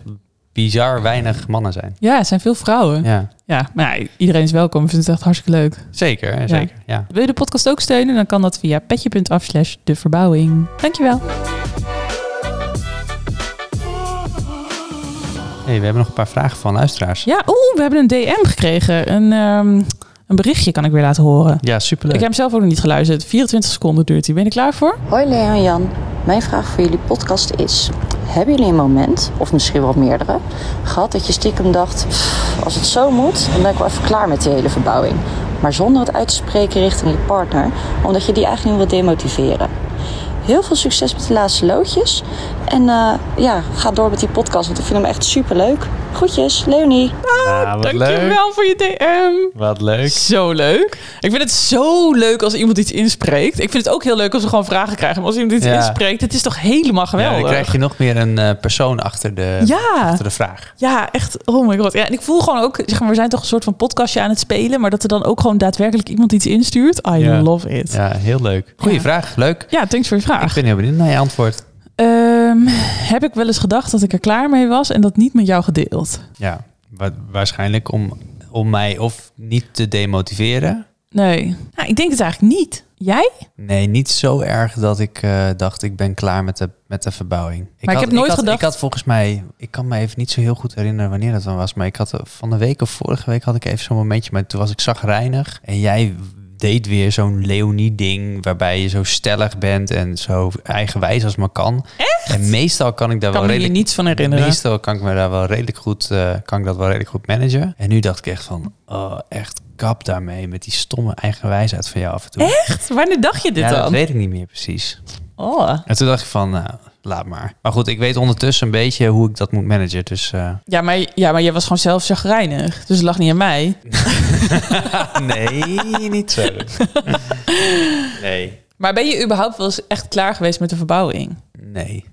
bizar weinig mannen zijn. Ja, het zijn veel vrouwen. Ja, Ja, maar ja, iedereen is welkom. We vinden het echt hartstikke leuk. zeker, zeker. Ja. Wil je de podcast ook steunen? Dan kan dat via petje.af slash de verbouwing. Dankjewel. Hey, we hebben nog een paar vragen van luisteraars. Ja, Ja, oeh, we hebben een DM gekregen. Een, ehm, een berichtje kan ik weer laten horen. Ik superleuk. heb hem zelf ook nog niet geluisterd. 24 seconden duurt hij. Ben je er klaar voor? Hoi Lea en Jan, mijn vraag voor jullie podcast is: Hebben jullie een moment, of misschien wel meerdere, gehad dat je stiekem dacht: "Pff, als het zo moet, dan ben ik wel even klaar met die hele verbouwing? Maar zonder het uit te spreken richting je partner, omdat je die eigenlijk niet wil demotiveren. Heel veel succes met de laatste loodjes. En eh, ja, ga door met die podcast, want ik vind hem echt super leuk. Groetjes, Leonie. Ah, wat leuk. Dankjewel voor je DM. Wat leuk. Zo leuk. Ik vind het zo leuk als iemand iets inspreekt. Ik vind het ook heel leuk als we gewoon vragen krijgen. Maar als iemand iets Ja. inspreekt, het is toch helemaal Ja, geweldig. dan krijg je nog meer een eh, persoon achter de, eh, ja. achter de vraag. Ja, echt. Oh my god. Ja, en ik voel gewoon ook, zeg maar, we zijn toch een soort van podcastje aan het spelen. Maar dat er dan ook gewoon daadwerkelijk iemand iets instuurt. I Ja. love it. Ja. Ja, heel leuk. Goeie Ja. vraag, leuk. thanks voor je vraag. Ik ben heel benieuwd naar je antwoord. Ehm, heb ik wel eens gedacht dat ik er klaar mee was en dat niet met jou gedeeld? Ja, wa- waarschijnlijk om, om mij of niet te demotiveren. Nee. Nou, ik denk het eigenlijk niet. Jij? Nee, niet zo erg dat ik eh, dacht, ik ben klaar met de, met de verbouwing. ik heb nooit had, gedacht- Ik had volgens mij, ik kan me even niet zo heel goed herinneren wanneer dat dan was. Maar ik had eh, van de week of vorige week had ik even zo'n momentje. Maar toen was ik zagrijnig. En jij deed weer zo'n Leonie-ding waarbij je zo stellig bent en zo eigenwijs als maar kan. Echt? En meestal kan ik daar Ik kan wel me hier redelijk... niets van herinneren. Meestal kan ik me daar wel redelijk goed, eh, kan ik dat wel redelijk goed managen. En nu dacht ik echt van, oh, echt kap daarmee met die stomme eigenwijsheid van jou af en toe. Echt? Wanneer dacht je dit ja, dat dan? weet ik niet meer precies. Oh. En toen dacht ik van, nou, laat maar. Maar goed, ik weet ondertussen een beetje hoe ik dat moet managen. Dus eh, Ja, maar, ja, maar jij was gewoon zelf chagrijnig. Dus het lag niet aan mij. nee, niet zo. nee. Maar ben je überhaupt wel eens echt klaar geweest met de verbouwing? Nee.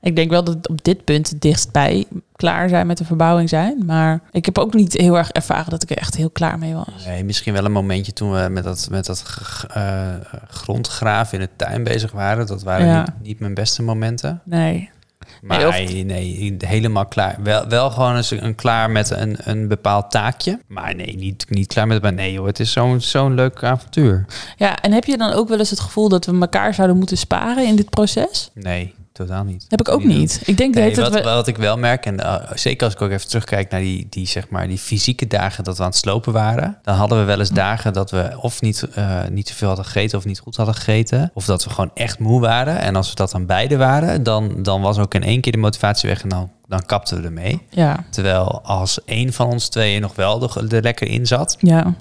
Ik denk wel dat het op dit punt het dichtstbij klaar zijn met de verbouwing zijn. Maar ik heb ook niet heel erg ervaren dat ik er echt heel klaar mee was. nee. Misschien wel een momentje toen we met dat, met dat g- eh, grondgraven in de tuin bezig waren. Dat waren Ja. niet, niet mijn beste momenten. Nee. Maar Nee, of- nee, helemaal klaar. Wel, wel gewoon eens een klaar met een, een bepaald taakje. Maar nee, niet, niet klaar met... Maar nee joh, het is zo'n zo'n leuk avontuur. Ja, en heb je dan ook wel eens het gevoel dat we elkaar zouden moeten sparen in dit proces? Nee, totaal niet. Dat heb ik ook Niet doen. niet. Ik denk Nee, dat wat, we... wat ik wel merk, en eh, zeker als ik ook even terugkijk naar die, die, zeg maar, die fysieke dagen dat we aan het slopen waren, dan hadden we wel eens dagen dat we of niet, eh niet zoveel hadden gegeten of niet goed hadden gegeten, of dat we gewoon echt moe waren. En als we dat aan beide waren, dan, dan was ook in één keer de motivatie weg en dan, dan kapten we ermee. Ja, Terwijl als één van ons tweeën nog wel er, er lekker in zat, ja.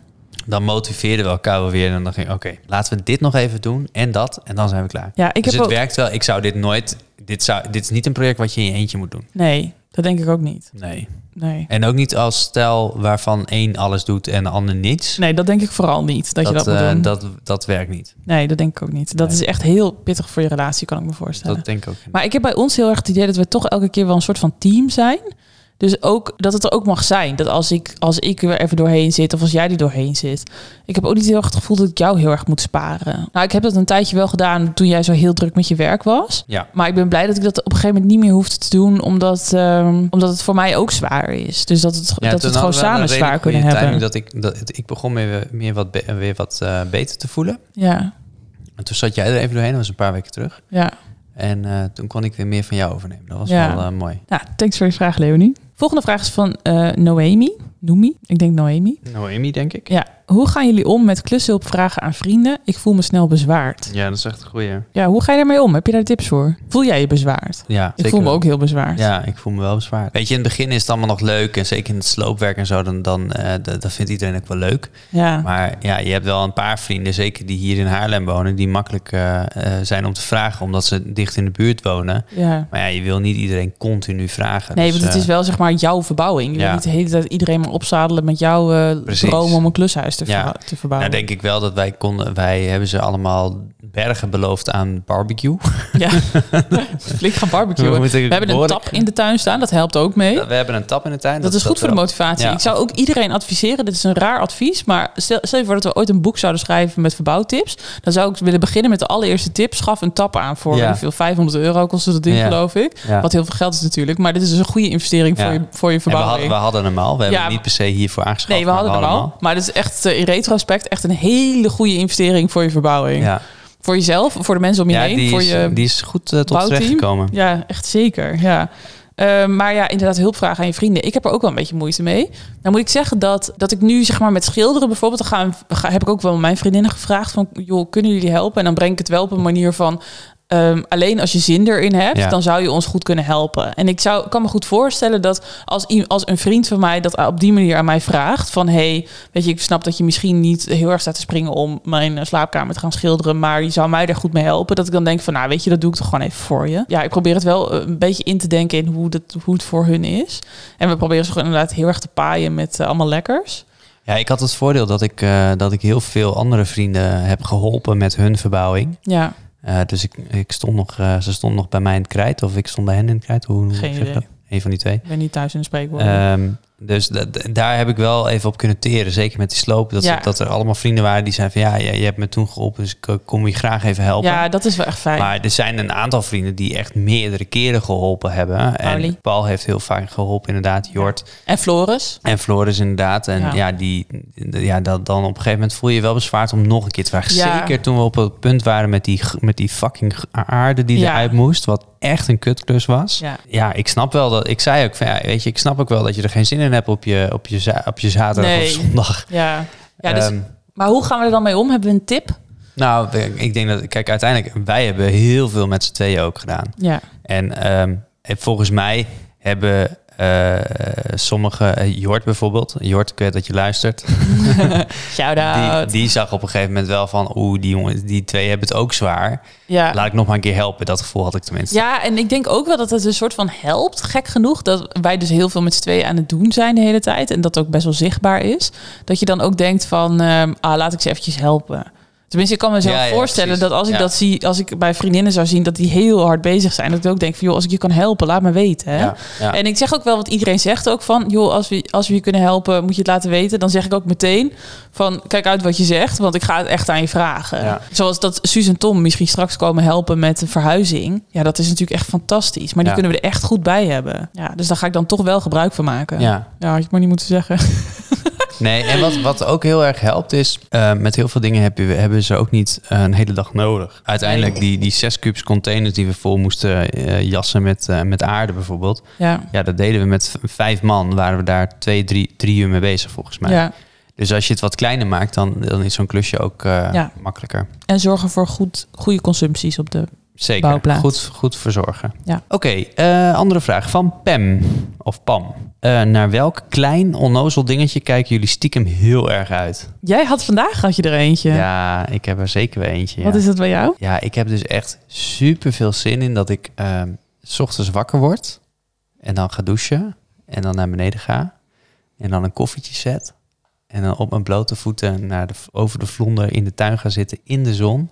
dan motiveerden we elkaar wel weer. En dan ging ik, oké, laten we dit nog even doen en dat, en dan zijn we klaar. Ja, ik dus heb het ook- werkt wel. Ik zou dit nooit... Dit, zou, dit is niet een project wat je in je eentje moet doen. Nee, dat denk ik ook niet. Nee. Nee. En ook niet als stel waarvan één alles doet en de ander niets. Nee, dat denk ik vooral niet. Dat, je dat eh, moet doen. dat, dat werkt niet. Nee, dat denk ik ook niet. Dat Nee. is echt heel pittig voor je relatie, kan ik me voorstellen. Dat denk ik ook niet. Maar ik heb bij ons heel erg het idee dat we toch elke keer wel een soort van team zijn. Dus ook dat het er ook mag zijn. Dat als ik, als ik er even doorheen zit of als jij er doorheen zit. Ik heb ook niet heel erg het gevoel dat ik jou heel erg moet sparen. Nou, ik heb dat een tijdje wel gedaan toen jij zo heel druk met je werk was. Ja. Maar ik ben blij dat ik dat op een gegeven moment niet meer hoefde te doen. Omdat, ehm, omdat het voor mij ook zwaar is. Dus dat, het, Ja, dat we toen het gewoon hadden wel samen een zwaar redelijk goede kunnen hebben. timing Dat ik, dat, ik begon meer, meer wat, be- weer wat eh, beter te voelen. Ja, En toen zat jij er even doorheen, dat was een paar weken terug. ja. En eh, toen kon ik weer meer van jou overnemen. Dat was Ja. wel eh, mooi. Nou, thanks voor je vraag, Leonie. Volgende vraag is van eh Noemi. Noemi, ik denk Noemi. Noemi, Nou, denk ik. Ja, Hoe gaan jullie om met klushulp vragen aan vrienden? Ik voel me snel bezwaard. Ja, dat is echt een goeie. Ja, hoe ga je daarmee om? Heb je daar tips voor? Voel jij je bezwaard? Ja, Ik voel me ook heel bezwaard. Ja, ik voel me wel bezwaard. Weet je, in het begin is het allemaal nog leuk. En zeker in het sloopwerk en zo, dan, dan eh, dat, dat vindt iedereen ook wel leuk. Ja. Maar ja, je hebt wel een paar vrienden, zeker die hier in Haarlem wonen, die makkelijk eh, eh, zijn om te vragen, omdat ze dicht in de buurt wonen. ja. Maar ja, je wil niet iedereen continu vragen. Nee, Dus, want het eh, is wel zeg maar jouw verbouwing. Je ja. wil niet de hele tijd iedereen maar opzadelen met jouw eh, Precies. droom om een klushuis te, Ja. verbou- te verbouwen. Nou, denk ik wel dat wij konden. Wij hebben ze allemaal bergen beloofd aan barbecue. Ja, flink gaan barbecuen. We, moeten hebben een behoorlijk- tap in de tuin staan, dat helpt ook mee. We hebben een tap in de tuin. Dat is goed voor de wel- motivatie. Ja. Ik zou ook iedereen adviseren, dit is een raar advies, maar stel, stel je voor dat we ooit een boek zouden schrijven met verbouwtips, dan zou ik willen beginnen met de allereerste tip. Schaf een tap aan voor Ja. weet ik veel, 500 euro kostte dat ding Ja. geloof ik. Ja. Wat heel veel geld is natuurlijk, maar dit is dus een goede investering Ja. voor, je, voor je En we, hadden, verbouwing. we hadden hem al. We hebben Ja. hem niet per se hiervoor aangeschaft. Nee, we hadden maar hem al. Maar dit is echt eh, in retrospect echt een hele goede investering voor je verbouwing. Ja, Voor jezelf, voor de mensen om je ja heen, die, voor is, je die is goed eh, tot bouwteam. terecht gekomen. Ja, echt zeker. Ja. Eh, maar ja, inderdaad, hulp vragen aan je vrienden. Ik heb er ook wel een beetje moeite mee. Dan moet ik zeggen dat, dat ik nu zeg maar met schilderen bijvoorbeeld... Dan gaan, ga- heb ik ook wel mijn vriendinnen gevraagd van... joh, kunnen jullie helpen? En dan breng ik het wel op een manier van... ehm, alleen als je zin erin hebt, Ja. dan zou je ons goed kunnen helpen. En ik zou, kan me goed voorstellen dat als, i- als een vriend van mij dat op die manier aan mij vraagt... van hey, weet je, ik snap dat je misschien niet heel erg staat te springen... om mijn eh, slaapkamer te gaan schilderen, maar je zou mij daar goed mee helpen. Dat ik dan denk van, nou weet je, dat doe ik toch gewoon even voor je. Ja, ik probeer het wel eh, een beetje in te denken in hoe, dat, hoe het voor hun is. En we proberen ze gewoon inderdaad heel erg te paaien met eh, allemaal lekkers. Ja, ik had het voordeel dat ik, eh, dat ik heel veel andere vrienden heb geholpen met hun verbouwing. Ja, Eh, dus ik, ik stond nog, eh, ze stond nog bij mij in het krijt. Of ik stond bij hen in het krijt. Hoe, hoe Geen zeg je idee. dat? Een van die twee. ik ben niet thuis in de spreekwoorden. Ehm, dus da- da- daar heb ik wel even op kunnen teren. Zeker met die sloop. Dat, ze- Ja. dat er allemaal vrienden waren die zeiden van... Ja, je, je hebt me toen geholpen, dus ik eh, kom je graag even helpen. ja, dat is wel echt fijn. Maar er zijn een aantal vrienden die echt meerdere keren geholpen hebben. Pauli. En Paul heeft heel vaak geholpen, inderdaad. Jort En Floris? en Floris inderdaad. En Ja. ja, die, ja dat, dan op een gegeven moment voel je je wel bezwaard om nog een keer te vragen. Ja. Zeker toen we op het punt waren met die, g- met die fucking g- aarde die Ja. eruit moest. Wat echt een kutklus was. Ja. ik snap wel dat. Ik zei ook van ja, weet je, ik snap ook wel dat je er geen zin in hebt op je, op je, za- op je zaterdag Nee. of zondag. Ja. ja dus, Ehm, maar hoe gaan we er dan mee om? Hebben we een tip? nou, ik denk dat, kijk, uiteindelijk, wij hebben heel veel met z'n tweeën ook gedaan. Ja. En ehm, en volgens mij hebben eh, sommige, eh, Jort bijvoorbeeld, Jort, ik weet dat je luistert. Die, Shout-out. die zag op een gegeven moment wel van, oeh, die, jongen, die twee hebben het ook zwaar. Ja. Laat ik nog maar een keer helpen. Dat gevoel had ik tenminste. Ja, en ik denk ook wel dat het een soort van helpt. Gek genoeg dat wij dus heel veel met z'n tweeën aan het doen zijn de hele tijd. En dat ook best wel zichtbaar is. Dat je dan ook denkt van, ehm, ah, laat ik ze eventjes helpen. Tenminste, ik kan mezelf Ja, ja, voorstellen precies. dat als ik Ja. dat zie, als ik bij vriendinnen zou zien dat die heel hard bezig zijn, dat ik ook denk van, joh, als ik je kan helpen, laat me weten. Hè? Ja, ja. En ik zeg ook wel wat iedereen zegt ook van, joh, als we, als we je kunnen helpen, moet je het laten weten. Dan zeg ik ook meteen van, kijk uit wat je zegt, want ik ga het echt aan je vragen. Ja. Zoals dat Suus en Tom misschien straks komen helpen met een verhuizing. Ja, dat is natuurlijk echt fantastisch. Maar die Ja. kunnen we er echt goed bij hebben. Ja, dus daar ga ik dan toch wel gebruik van maken. Ja. ja had je het maar niet moeten zeggen. Nee, en wat, wat ook heel erg helpt is, eh, met heel veel dingen heb je, hebben ze ook niet eh, een hele dag nodig. Uiteindelijk, die, die zes cubes containers die we vol moesten eh, jassen met, eh, met aarde bijvoorbeeld. Ja, Ja, dat deden we met v- vijf man. Waren we daar twee, drie, drie uur mee bezig volgens mij. ja. Dus als je het wat kleiner maakt, dan, dan is zo'n klusje ook eh, Ja. makkelijker. En zorgen voor goed, goede consumpties op de... Zeker. Bouwplaats. Goed, goed verzorgen. Ja. Oké, eh, andere vraag van Pam of Pam. Eh, naar welk klein onnozel dingetje kijken jullie stiekem heel erg uit? Jij had vandaag had je er eentje. Ja, ik heb er zeker wel eentje. Ja. Wat is dat bij jou? ja, ik heb dus echt super veel zin in dat ik ehm, s ochtends wakker word en dan ga douchen en dan naar beneden ga en dan een koffietje zet en dan op mijn blote voeten naar de, over de vlonder in de tuin ga zitten in de zon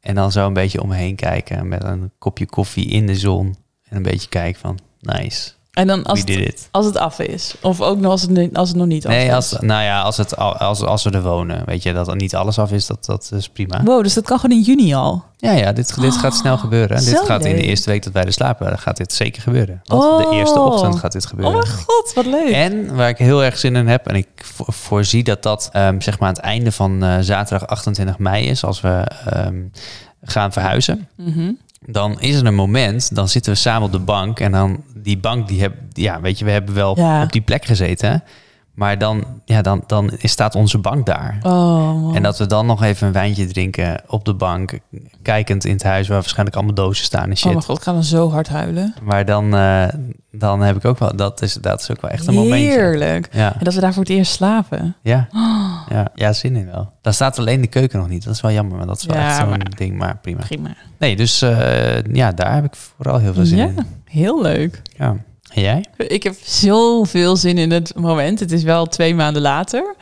en dan zo een beetje om me heen kijken met een kopje koffie in de zon en een beetje kijken van nice, En dan als we het, did it. als het af is. Of ook nog als het, ni- als het nog niet af is. Nee, als, nou ja, als, het, al- als, als we er wonen, weet je, dat er niet alles af is, dat, dat is prima. Wow, dus dat kan gewoon in juni al. Ja, ja dit, dit gaat snel gebeuren. Ah, zo dit gaat in de leuk. eerste week dat wij er slapen, gaat dit zeker gebeuren. Want Oh. de eerste ochtend gaat dit Oh gebeuren. mijn god, wat leuk. en waar ik heel erg zin in heb, en ik vo- voorzie dat dat ehm, zeg maar aan het einde van eh, zaterdag 28 mei is, als we ehm, gaan verhuizen. Mhm. Dan is er een moment, dan zitten we samen op de bank. En dan die bank, die heb, die- ja, weet je, we hebben wel Ja. op die plek gezeten. Maar dan, ja, dan, dan staat onze bank daar. Oh, man. En dat we dan nog even een wijntje drinken op de bank. Kijkend in het huis waar waarschijnlijk allemaal dozen staan en oh shit. mijn god, ik ga dan zo hard huilen. maar dan, eh, dan heb ik ook wel... Dat is, dat is ook wel echt een momentje. Heerlijk. Ja, En dat we daar voor het eerst slapen. ja, ja, ja, zin in wel. Daar staat alleen de keuken nog niet. Dat is wel jammer, want dat is wel Ja, echt zo'n maar- ding. Maar prima. Prima. Nee, dus eh, ja, daar heb ik vooral heel veel zin Ja. in. Heel leuk. Ja. En jij? Ik heb zoveel zin in het moment. Het is wel twee maanden later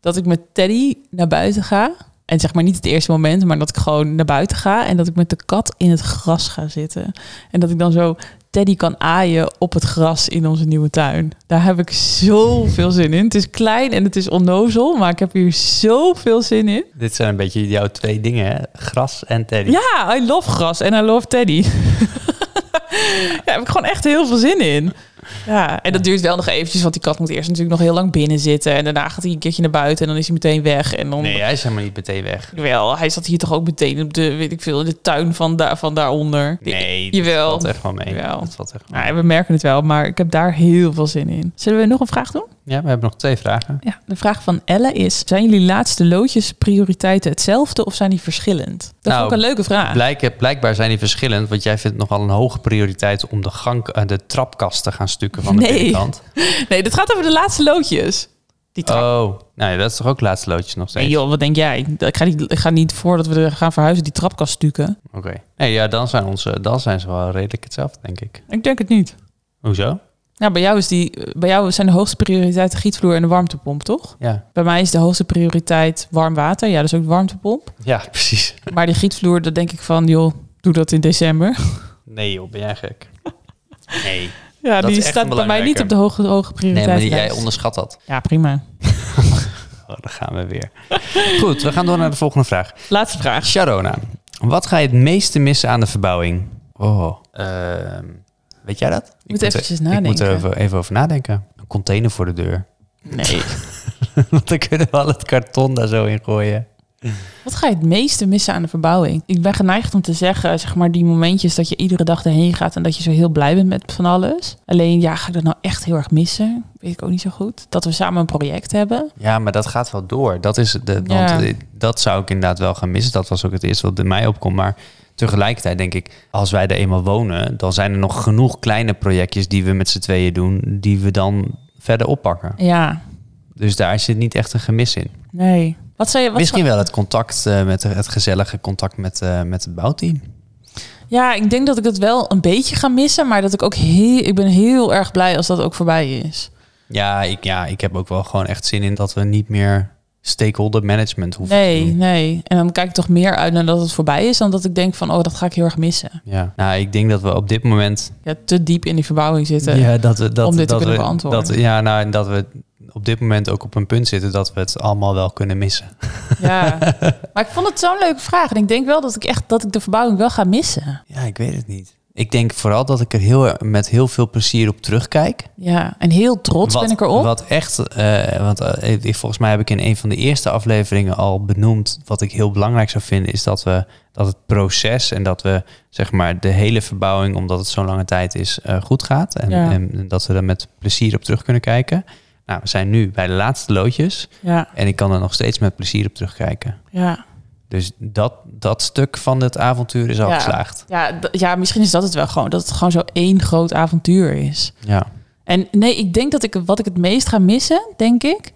dat ik met Teddy naar buiten ga. En zeg maar niet het eerste moment, maar dat ik gewoon naar buiten ga. En dat ik met de kat in het gras ga zitten. En dat ik dan zo Teddy kan aaien op het gras in onze nieuwe tuin. Daar heb ik zoveel zin in. Het is klein en het is onnozel, maar ik heb hier zoveel zin in. Dit zijn een beetje jouw twee dingen, hè? Gras en teddy. Ja, I love gras en I love teddy. ja, daar heb ik gewoon echt heel veel zin in. Ja, en dat duurt wel nog eventjes, want die kat moet eerst natuurlijk nog heel lang binnen zitten. En daarna gaat hij een keertje naar buiten en dan is hij meteen weg. En dan Nee, hij is helemaal niet meteen weg. wel, hij zat hier toch ook meteen op de, weet ik veel, in de tuin van, daar, van daaronder. Nee, dat Jawel. valt echt wel mee. Jawel. Dat valt echt wel mee. Ja, we merken het wel, maar ik heb daar heel veel zin in. Zullen we nog een vraag doen? Ja, we hebben nog twee vragen. Ja, de vraag van Elle is: zijn jullie laatste loodjes prioriteiten hetzelfde of zijn die verschillend? Dat Nou, vond ik een leuke vraag. Blijken- blijkbaar zijn die verschillend, want jij vindt nogal een hoge prioriteit om de, gang, eh, de trapkast te gaan stukken van de Nee. binnenkant. Nee, dit gaat over de laatste loodjes. Die trap Oh, nou ja, dat is toch ook laatste loodje nog steeds? Nee joh, wat denk jij? Ik ga niet, ik ga niet voordat we er gaan verhuizen die trapkast stukken. Oké. Nee, ja, dan zijn, onze, dan zijn ze wel redelijk hetzelfde, denk ik. Ik denk het niet. Hoezo? Nou, bij jou, is die, bij jou zijn de hoogste prioriteit de gietvloer en de warmtepomp, toch? Ja, Bij mij is de hoogste prioriteit warm water. Ja, dus ook de warmtepomp. ja precies. Maar die gietvloer, dat denk ik van, joh, doe dat in december. Nee joh, ben jij gek? Nee. Ja, Dat die is echt staat een bij mij niet belangrijke. op de hoge, hoge Nee, prioriteit. maar jij onderschat dat. Ja, prima. Oh, daar gaan we weer. Goed, we gaan door naar de volgende vraag. Laatste vraag. Sharona, wat ga je het meeste missen aan de verbouwing? Oh, ehm, weet jij dat? Ik eventjes Ik moet er nadenken. even, even over nadenken. Een container voor de deur. Nee. Want dan kunnen we al het karton daar zo in gooien. Wat ga je het meeste missen aan de verbouwing? Ik ben geneigd om te zeggen, zeg maar, die momentjes dat je iedere dag erheen gaat en dat je zo heel blij bent met van alles. Alleen, ja, ga ik dat nou echt heel erg missen? Weet ik ook niet zo goed. Dat we samen een project hebben. Ja, maar dat gaat wel door. Dat, is de, Ja. want, eh, dat zou ik inderdaad wel gaan missen. Dat was ook het eerste wat bij mij opkomt. Maar tegelijkertijd denk ik, als wij er eenmaal wonen... dan zijn er nog genoeg kleine projectjes die we met z'n tweeën doen... die we dan verder oppakken. Ja, Dus daar zit niet echt een gemis in. nee. Wat zei je? Wat Misschien wel het contact eh, met het gezellige contact met, eh, met het bouwteam. zou- Ja, ik denk dat ik dat wel een beetje ga missen, maar dat ik ook heel, ik ben heel erg blij als dat ook voorbij is. Ja ik, ja, ik heb ook wel gewoon echt zin in dat we niet meer stakeholder management hoeven te Nee, doen. nee. En dan kijk ik toch meer uit naar dat het voorbij is dan dat ik denk van, oh, dat ga ik heel erg missen. Ja. Nou, ik denk dat we op dit moment. eh, Ja, te diep in die verbouwing zitten. Ja, dat we, dat, Om dit te dat kunnen we, beantwoorden. Dat, ja, nou, en dat we op dit moment ook op een punt zitten dat we het allemaal wel kunnen missen. Ja, maar ik vond het zo'n leuke vraag. En ik denk wel dat ik echt dat ik de verbouwing wel ga missen. Ja, ik weet het niet. Ik denk vooral dat ik er heel, met heel veel plezier op terugkijk. Ja, en heel trots ben ik erop. Wat echt, eh, want eh, ik, volgens mij heb ik in een van de eerste afleveringen al benoemd. Wat ik heel belangrijk zou vinden, is dat we dat het proces en dat we zeg maar de hele verbouwing, omdat het zo'n lange tijd is, eh, goed gaat. En, Ja. en dat we er met plezier op terug kunnen kijken. Nou, we zijn nu bij de laatste loodjes Ja, en ik kan er nog steeds met plezier op terugkijken. ja. Dus dat, dat stuk van het avontuur is al Ja. geslaagd. Ja, d- ja, misschien is dat het wel gewoon. Dat het gewoon zo één groot avontuur is. Ja. En nee, ik denk dat ik wat ik het meest ga missen, denk ik,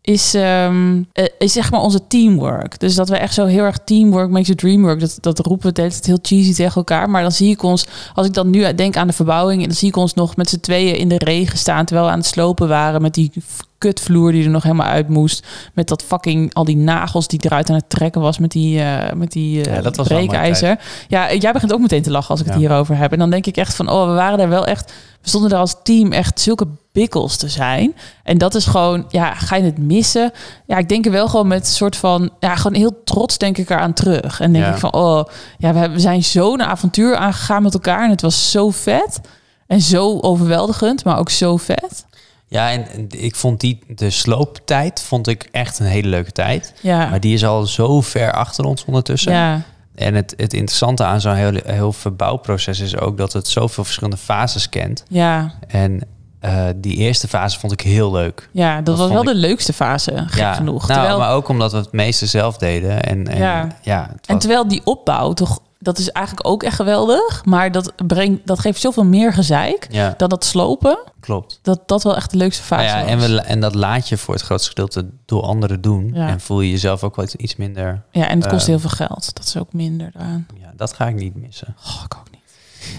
is, ehm, eh, is zeg maar onze teamwork. Dus dat we echt zo heel erg teamwork makes a dream work. Dat, dat roepen we de hele tijd heel cheesy tegen elkaar. Maar dan zie ik ons, als ik dan nu denk aan de verbouwing, dan zie ik ons nog met z'n tweeën in de regen staan terwijl we aan het slopen waren met die f- kutvloer die er nog helemaal uit moest. Met dat fucking, al die nagels die eruit aan het trekken was met die, eh met die eh, Ja, dat was wel een mooie breekijzer. Ja, jij begint ook meteen te lachen als ik het Ja. hierover heb. En dan denk ik echt van, oh, we waren daar wel echt... We stonden daar als team echt zulke bikkels te zijn. En dat is gewoon, ja, ga je het missen? Ja, ik denk er wel gewoon met een soort van... Ja, gewoon heel trots denk ik eraan terug. En denk Ja. ik van, oh, ja, we, hebben- we zijn zo'n avontuur aangegaan met elkaar. En het was zo vet. En zo overweldigend, maar ook zo vet. Ja, en en ik vond die, de slooptijd vond ik echt een hele leuke tijd. Ja, Maar die is al zo ver achter ons ondertussen. ja, En het, het interessante aan zo'n heel, heel verbouwproces is ook dat het zoveel verschillende fases kent. ja. En eh, eh, die eerste fase vond ik heel leuk. Ja, dat, Dat was wel vond de leukste fase, gek ja, genoeg. Nou, terwijl, maar ook omdat we het meeste zelf deden. En, en, Ja. ja. het En was- terwijl die opbouw toch, dat is eigenlijk ook echt geweldig. Maar dat, brengt, dat geeft zoveel meer gezeik ja, dan dat slopen. klopt. Dat dat wel echt de leukste fase Nou ja, was. en, we, la- en dat laat je voor het grootste gedeelte door anderen doen. Ja. En voel je jezelf ook wel iets- iets minder. ja, en het kost eh, heel veel geld. Dat is ook minder daaraan. Ja, dat ga ik niet missen. Oh, ik ook niet.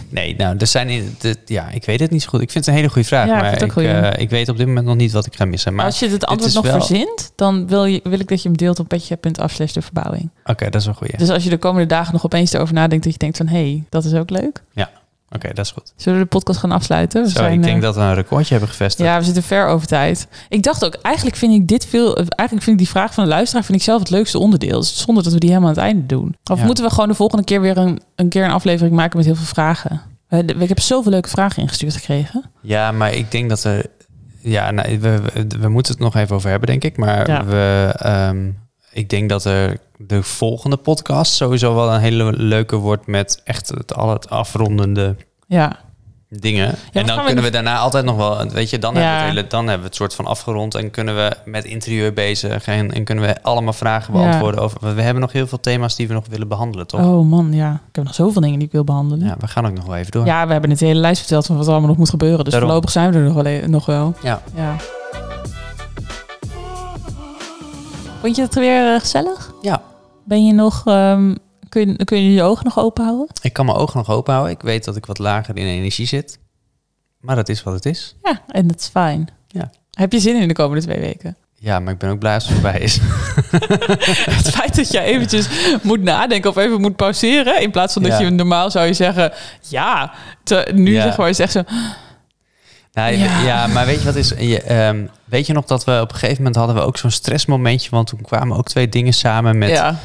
Nee, nou, er zijn. in- de- ja, ik weet het niet zo goed. Ik vind het een hele goede vraag. Ja, ik maar vind ik, het ook goeie. eh, ik weet op dit moment nog niet wat ik ga missen. Maar Als je het antwoord is nog wel- verzint, dan wil, je, wil ik dat je hem deelt op petje.af slash de verbouwing. oké, dat is een goede. Dus als je de komende dagen nog opeens erover nadenkt, dat je denkt van, hé, hey, dat is ook leuk. Oké, dat is goed. Zullen we de podcast gaan afsluiten? We Zo, ik eh, denk dat we een recordje hebben gevestigd. Ja, we zitten ver over tijd. Ik dacht ook, eigenlijk vind ik dit veel. Eigenlijk vind ik die vraag van de luisteraar vind ik zelf het leukste onderdeel. Dus zonder dat we die helemaal aan het einde doen. Of Ja. moeten we gewoon de volgende keer weer een, een keer een aflevering maken met heel veel vragen? Eh, de- Ik heb zoveel leuke vragen ingestuurd gekregen. Ja, maar ik denk dat er. Ja, nou, we, we, we moeten het nog even over hebben, denk ik. Maar Ja. we, ehm, ik denk dat er de volgende podcast sowieso wel een hele leuke wordt met echt het, al het afrondende Ja, dingen. en gaan we dan kunnen in- we daarna altijd nog wel, weet je, dan, Ja. hebben we het hele, dan hebben we het soort van afgerond en kunnen we met interieur bezig en, en kunnen we allemaal vragen Ja. beantwoorden over. want We hebben nog heel veel thema's die we nog willen behandelen, toch? oh man, ja. Ik heb nog zoveel dingen die ik wil behandelen. Ja, Ja, we gaan ook nog wel even door. we hebben het hele lijst verteld van wat er allemaal nog moet gebeuren. Dus Daarom. voorlopig zijn we er nog wel. e- Nog wel. Ja. ja. Vond je het weer eh, gezellig? Ja. Ben je nog. ehm, kun, je, kun je je ogen nog open houden? Ik kan mijn ogen nog open houden. Ik weet dat ik wat lager in energie zit. Maar dat is wat het is. Ja, en dat is fijn. Ja. Heb je zin in de komende twee weken? Ja, maar ik ben ook blij als het voorbij is. Het feit dat jij eventjes moet nadenken of even moet pauzeren... in plaats van dat Ja. je normaal zou je zeggen... ja, te- nu Ja. zeg maar is echt zo... Nou, Ja. ja. maar weet je wat is? Je, ehm, weet je nog dat we op een gegeven moment hadden we ook zo'n stressmomentje. Want toen kwamen ook twee dingen samen met ja,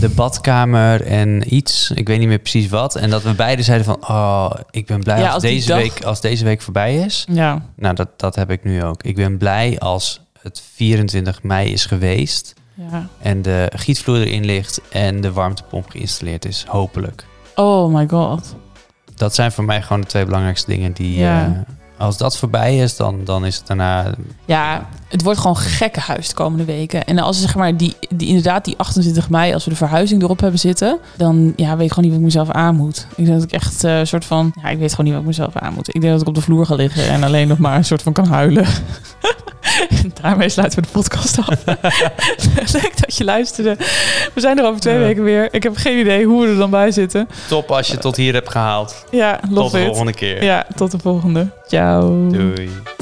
de badkamer en iets. Ik weet niet meer precies wat. En dat we beide zeiden van, oh, ik ben blij Ja, als, als die deze dag- week, als deze week voorbij is. ja, Nou, dat, dat heb ik nu ook. Ik ben blij als het 24 mei is geweest. ja. En de gietvloer erin ligt en de warmtepomp geïnstalleerd is. Hopelijk. Oh my god. Dat zijn voor mij gewoon de twee belangrijkste dingen die... Ja. eh, als dat voorbij is, dan, dan is het daarna... Ja, het wordt gewoon gekkenhuis de komende weken. En als zeg maar die, die, inderdaad die 28 mei, als we de verhuizing erop hebben zitten... dan ja, weet ik gewoon niet wat ik mezelf aan moet. Ik denk dat ik echt een soort van... Ja, ik weet gewoon niet wat ik mezelf aan moet. Ik denk dat ik op de vloer ga liggen en alleen nog maar een soort van kan huilen. En daarmee sluiten we de podcast af. Leuk dat je luisterde. We zijn er over twee Ja. weken weer. Ik heb geen idee hoe we er dan bij zitten. Top als je tot hier hebt gehaald. Ja, love it. keer. Ja, tot de volgende. Ciao. Doei.